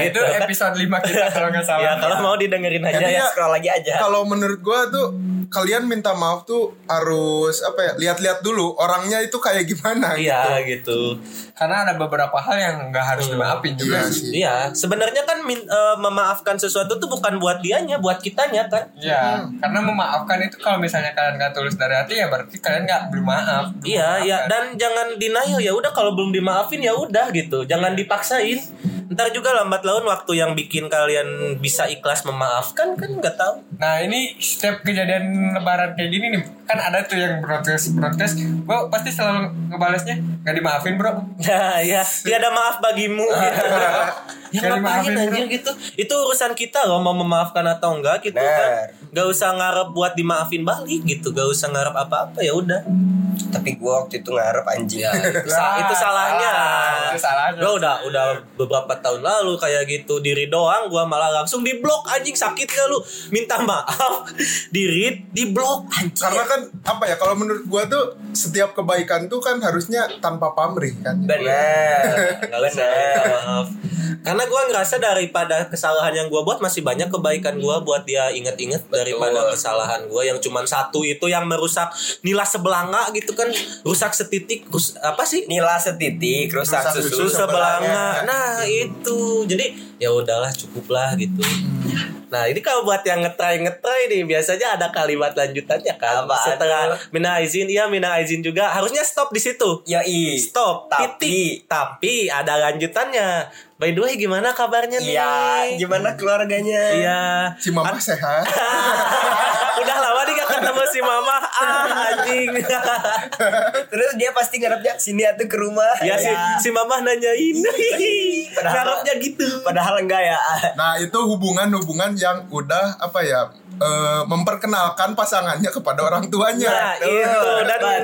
S5: Nah itu
S7: gitu kan.
S5: episode 5 kita kalau nggak salah.
S7: *laughs*
S5: Iya.
S7: Ya kalau mau didengerin aja ya.
S6: Jadinya-
S8: scroll lagi aja.
S6: kalau menurut gue tuh kalian minta maaf tuh harus apa ya lihat-lihat dulu orangnya itu kayak gimana
S7: Iya gitu.
S5: Karena ada beberapa hal yang nggak harus dimaafin
S6: Iya
S5: juga.
S6: sih
S7: Iya, sebenarnya kan min- eh, memaafkan sesuatu tuh bukan buat dianya, buat kitanya kan.
S5: Iya, karena memaafkan itu kalau misalnya kalian nggak tulus dari hati ya berarti kalian nggak belum maaf. belum
S7: Iya, ya
S5: memaafkan.
S7: dan jangan denial ya udah kalau belum dimaafin ya udah gitu. Jangan dipaksain. Ntar juga lambat laun waktu yang bikin kalian bisa ikhlas memaafkan kan nggak tahu. *laughs*
S5: Nah ini setiap kejadian lebaran kayak gini nih Kan ada tuh yang protes-protes Gue pasti selalu ngebalasnya Gak dimaafin bro
S7: Ya, ya, tiada maaf bagimu gitu. ya
S5: Jadi
S7: ngapain
S5: maafin,
S7: anjir gitu? Itu urusan kita loh mau memaafkan atau enggak gitu kan. Gak usah ngarep buat dimaafin balik gitu. Gak usah ngarep apa-apa ya udah.
S8: Tapi gue waktu itu ngarep anjing.
S7: Ya, Itu,
S5: *laughs*
S7: sa- itu salahnya.
S5: salah. Ah, Itu salahnya.
S7: Gua udah udah beberapa tahun lalu kayak gitu diri doang gua malah langsung di blok anjing sakit gak lu minta maaf *laughs* diri di blok anjing.
S6: karena kan apa ya kalau menurut gue tuh setiap kebaikan tuh kan harusnya tanpa pamrih
S7: Nah,
S6: kan
S8: Bener. *laughs*
S7: Nggak usah, minta maaf. Karena gua ngerasa daripada kesalahan yang gua buat masih banyak kebaikan gua buat dia inget-inget daripada kesalahan gua yang cuman satu itu yang merusak nilai sebelanga gitu kan rusak setitik rus- apa sih
S8: Nila setitik rusak,
S6: Rusak
S8: susu,
S7: susu sebelanga. Nah, itu. Jadi ya udahlah cukuplah gitu.
S8: Hmm.
S7: Nah, ini kalau buat yang ngetrai ngetrai nih biasanya ada kalimat lanjutannya kan.
S8: Apaan
S7: Setelah
S8: tuh?
S7: mina izin, iya mina izin juga. Harusnya stop di situ.
S8: Yoi.
S7: Stop.
S8: Tapi-
S7: titik. Tapi ada lanjutannya. By the way, gimana kabarnya nih?
S8: Iya, gimana keluarganya?
S7: Iya. *laughs*
S6: si mama sehat
S7: Udah lama nih gak ketemu si mama. Ah, anjing.
S8: *laughs* Terus dia pasti ngarepnya sini atau ke rumah.
S7: ya si
S8: Iya.
S7: si mama nanyain.
S8: Padahal-
S7: Harapnya gitu.
S8: Padahal enggak ya.
S6: nah itu hubungan-hubungan yang udah apa ya eh, memperkenalkan pasangannya kepada orang
S7: Nah
S6: tuanya
S7: itu dan
S8: Iya,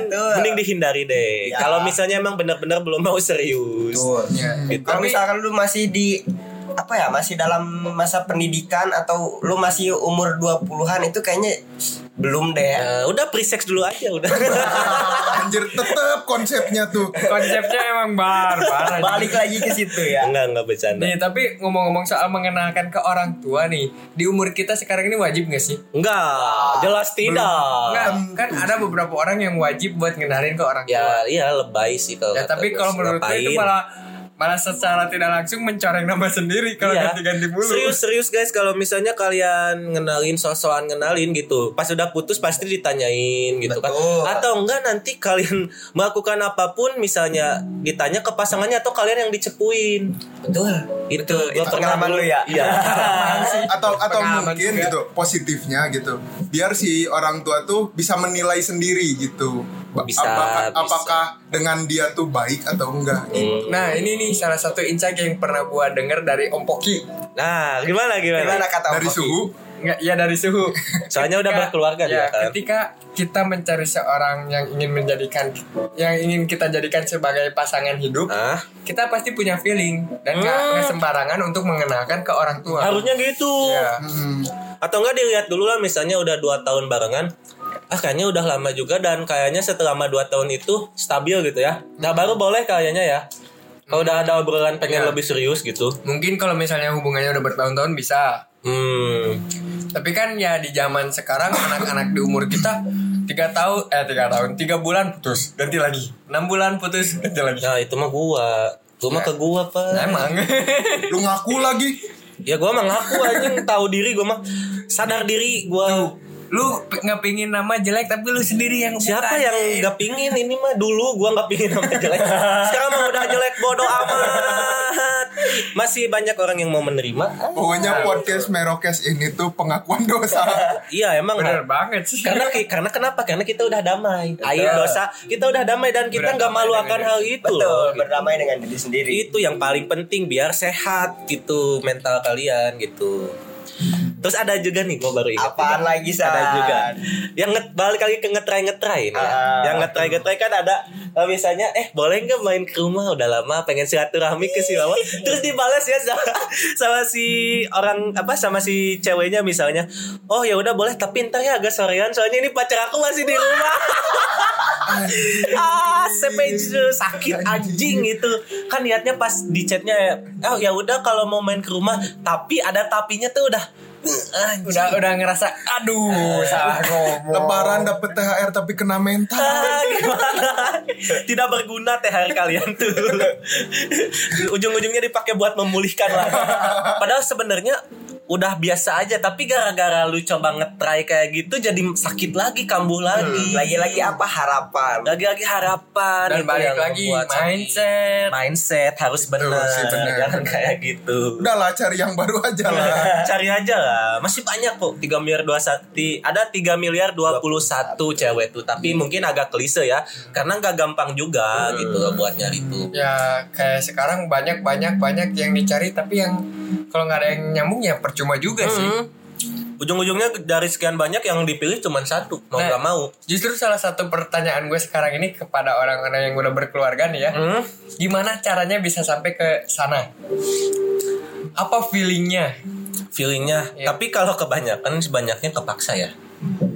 S8: betul.
S7: mending dihindari deh.
S8: Ya.
S7: Kalau misalnya emang benar-benar belum mau serius. Gitu.
S8: Iya. Kalau misalkan lu masih di apa ya masih dalam masa pendidikan atau lu masih umur 20-an itu kayaknya belum deh
S7: Eh, udah pre-sex dulu aja udah.
S8: *laughs*
S6: Anjir tetap konsepnya tuh.
S5: Konsepnya emang barbar. anjing.
S8: balik lagi ke situ ya
S7: enggak enggak bercanda.
S5: Nih tapi ngomong-ngomong soal mengenalkan ke orang tua nih Di umur kita sekarang ini wajib gak sih?
S7: Enggak, jelas tidak.
S5: Enggak, kan ada beberapa orang yang wajib buat ngenalin ke orang tua
S7: Ya Ah. iya lebay sih kalau.
S5: Ya
S7: kata
S5: tapi
S7: gue
S5: kalau
S7: sih,
S5: menurut gue itu
S7: ngapain.
S5: malah Malah secara tidak langsung mencoreng nama sendiri Kalau
S7: Iya.
S5: ganti-ganti mulu
S7: Serius serius guys kalau misalnya kalian ngenalin sosokan ngenalin gitu pas udah putus pasti ditanyain gitu
S8: Betul.
S7: kan atau enggak nanti kalian *laughs* melakukan apapun misalnya ditanya ke pasangannya atau kalian yang dicepuin
S8: betul
S7: itu gua pernah
S8: pengalaman
S7: dulu.
S8: lu ya?
S5: *laughs*
S7: iya
S6: atau atau
S5: Pengalaman
S6: mungkin
S5: juga.
S6: gitu positifnya gitu biar si orang tua tuh bisa menilai sendiri gitu Ba-
S7: Bisa,
S6: apakah,
S7: bisa.
S6: apakah dengan dia tuh baik atau enggak gitu.
S7: Hmm.
S5: Nah ini nih salah satu insight yang pernah gua denger dari Om Poki
S7: nah gimana gimana,
S8: gimana kata
S6: dari
S8: Om Poki?
S6: suhu
S5: Nggak, ya dari suhu
S7: soalnya *laughs* udah
S5: Ketika-
S7: berkeluarga
S5: ya,
S7: dia kan
S5: ketika kita mencari seorang yang ingin menjadikan yang ingin kita jadikan sebagai pasangan hidup
S7: ah
S5: kita pasti punya feeling dan nggak nggak sembarangan untuk mengenalkan ke orang tua
S7: harusnya gitu
S5: ya.
S7: atau enggak dilihat dulu lah misalnya udah dua tahun barengan ah kayaknya udah lama juga dan kayaknya selama dua tahun itu stabil gitu ya nah baru boleh kayaknya ya kalau udah ada obrolan pengen
S5: Iya.
S7: lebih serius gitu
S5: mungkin kalau misalnya hubungannya udah bertahun-tahun bisa
S7: hmm
S5: tapi kan ya di zaman sekarang anak-anak di umur kita tiga tahun eh tiga tahun tiga bulan putus ganti lagi enam bulan putus ganti lagi
S7: nah itu mah gua gua
S5: Iya.
S7: mah ke gua pak
S5: emang *laughs*
S6: lu ngaku lagi
S7: ya gua mah ngaku aja tahu diri gua mah sadar diri gua
S5: lu pe- nggak pingin nama jelek tapi lu sendiri yang
S7: siapa ya?
S5: buka.
S7: yang nggak pingin ini mah dulu gua nggak pingin nama
S5: *laughs*
S7: jelek sekarang mah udah jelek bodoh amat masih banyak orang yang mau menerima
S6: pokoknya podcast merokes ini tuh pengakuan dosa
S7: iya emang
S5: bener banget sih
S7: karena ki- karena kenapa karena kita udah damai air dosa kita udah damai dan kita
S5: Udah
S7: nggak malu
S5: damai
S7: akan
S5: dengan
S7: hal itu
S8: betul
S7: loh gitu.
S8: berdamai dengan diri sendiri
S7: itu yang paling penting biar sehat gitu mental kalian gitu terus ada juga nih gue baru ingat
S8: apaan lagi San?
S7: ada juga yang nge- balik lagi ke ngetrai ngetrai ini ya.
S8: Ah.
S7: yang ngetrai ngetrai kan ada eh, misalnya eh boleh nggak main ke rumah udah lama pengen silaturahmi ke si lawan terus dibalas ya sama, sama si orang apa sama si ceweknya misalnya oh ya udah boleh tapi ntar ya agak sorean soalnya ini pacar aku masih di rumah ah sepeju sakit anjing gitu kan niatnya pas di chatnya ya, oh ya udah kalau mau main ke rumah tapi ada tapinya tuh udah anjing.
S5: udah udah ngerasa "Ah." aduh salah ngomong
S6: lebaran dapet thr tapi kena mental
S7: Ah, gimana? *laughs* Tidak berguna THR kalian tuh. Ujung-ujungnya dipakai buat memulihkan lah. Padahal sebenarnya udah biasa aja tapi gara-gara lu coba ngetrai kayak gitu jadi sakit lagi kambuh lagi
S8: lagi-lagi apa harapan
S7: lagi-lagi
S5: dan
S7: harapan itu
S5: balik
S7: yang
S5: lagi
S7: membuat sakit.
S5: mindset
S7: mindset harus benar
S6: sih, benar.
S7: jangan kayak gitu
S6: udahlah cari yang baru aja
S5: *laughs*
S6: lah
S7: *laughs* cari aja lah masih banyak kok 3 miliar 21 ti- ada 3 miliar 21 cewek tuh tapi
S5: Hmm.
S7: mungkin agak klise ya karena nggak gampang juga gitu loh buat nyari tuh
S5: ya kayak sekarang banyak banyak banyak yang dicari tapi yang kalau nggak ada yang nyambung ya percuma juga sih
S7: Mm-hmm. ujung-ujungnya dari sekian banyak yang dipilih cuma satu mau
S5: Nah.
S7: nggak mau
S5: justru salah satu pertanyaan gue sekarang ini kepada orang-orang yang udah berkeluarga nih ya gimana caranya bisa sampai ke sana apa feelingnya
S7: feelingnya
S5: Iya.
S7: tapi kalau kebanyakan sebanyaknya kepaksa ya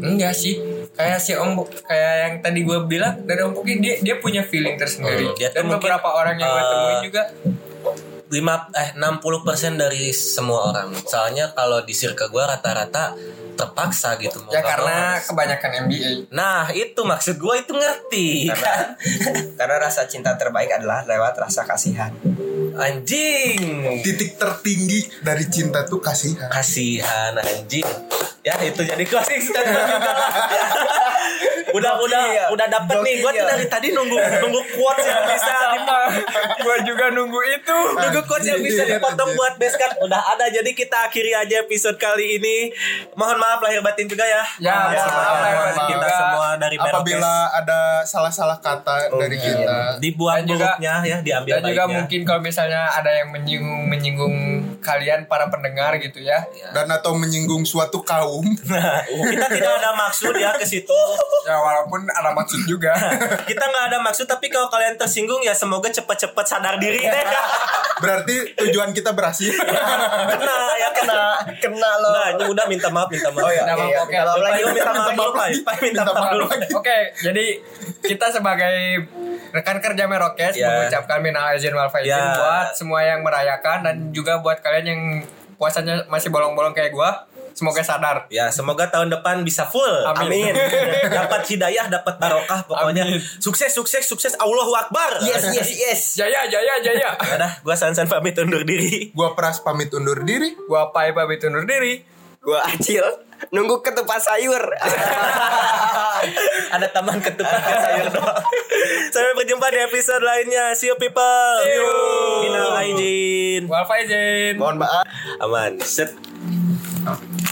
S5: enggak sih kayak si om kayak yang tadi gue bilang dari om Puki dia dia punya feeling tersendiri
S7: Hmm, dia
S5: dan
S7: tuh mungkin,
S5: beberapa orang yang gue
S7: eh,
S5: temuin juga
S7: lima eh 60% dari semua orang soalnya kalau di circle gua rata-rata terpaksa gitu mau
S5: ya
S7: nggak
S5: karena
S7: mau harus.
S5: kebanyakan *laughs* MBA
S7: nah itu maksud gua itu ngerti kan
S8: karena rasa cinta terbaik adalah lewat rasa kasihan
S7: *laughs* anjing
S6: titik tertinggi dari cinta tuh kasihan
S7: kasihan anjing eh, ya itu jadi closing statement juga lah. *laughs* udah udah
S5: iya.
S7: udah dapet nih gue tuh dari tadi nunggu nunggu quotes yang
S5: *laughs*
S7: bisa dipotong
S5: gue juga nunggu itu
S7: nunggu quotes yang bisa
S5: Iya,
S7: dipotong buat basecamp udah ada jadi kita akhiri aja episode kali ini mohon maaf lahir batin juga ya
S5: Ya,
S7: Mohon
S5: mohon maaf lahir
S7: mohon
S5: batin
S7: kita
S5: juga.
S7: semua Ah, dari
S6: apabila
S7: Merokes Oh, iya,
S6: ada salah-salah kata dari kita
S7: dibuang
S5: Dan juga-
S7: buruknya ya diambil
S5: Dan juga
S7: baiknya. *laughs*
S5: mungkin kalau misalnya ada yang menyinggung menyinggung kalian para pendengar gitu ya.
S7: Iya.
S6: dan atau menyinggung suatu kaum *laughs*
S7: kita tidak ada maksud ya ke situ
S5: Ya
S6: walaupun ada maksud
S7: *laughs*
S6: juga.
S7: Kita nggak ada maksud tapi kalau kalian tersinggung ya semoga cepat-cepat sadar diri deh. *laughs*
S6: Berarti tujuan kita berhasil.
S7: kena ya kena.
S8: Kena lo.
S7: Nah, ini udah minta maaf, minta maaf.
S8: Oh iya,
S5: Kenapa?
S8: iya,
S5: Oke,
S8: iya.
S5: kalau
S7: Payu minta maaf
S6: Minta
S7: dulu,
S6: maaf
S7: Payu. Payu minta maaf dulu.
S5: Oke, jadi kita sebagai rekan kerja Merokes
S7: Ya.
S5: mengucapkan minal aizin wal faizin
S7: Ya.
S5: buat semua yang merayakan dan juga buat kalian yang puasanya masih bolong-bolong kayak gua, semoga sadar.
S7: Ya, semoga tahun depan bisa full.
S5: Amin.
S7: dapat hidayah, dapat barokah pokoknya.
S5: Amin.
S7: Sukses, sukses, sukses. Allahu Akbar. Ya
S8: Yes, yes, yes.
S5: Jaya, jaya,
S7: *laughs*
S5: jaya.
S7: Udah, gua san-san pamit undur diri.
S6: Gua peras pamit undur diri.
S5: gua Pai pamit undur diri.
S8: Gua acil nunggu ketupat *laughs* sayur.
S7: Ada taman ketupat ke sayur doang. Sampai berjumpa di episode lainnya. See you people. See you. Minal aijin.
S5: Wal faizin.
S6: Mohon maaf.
S7: Aman. Set.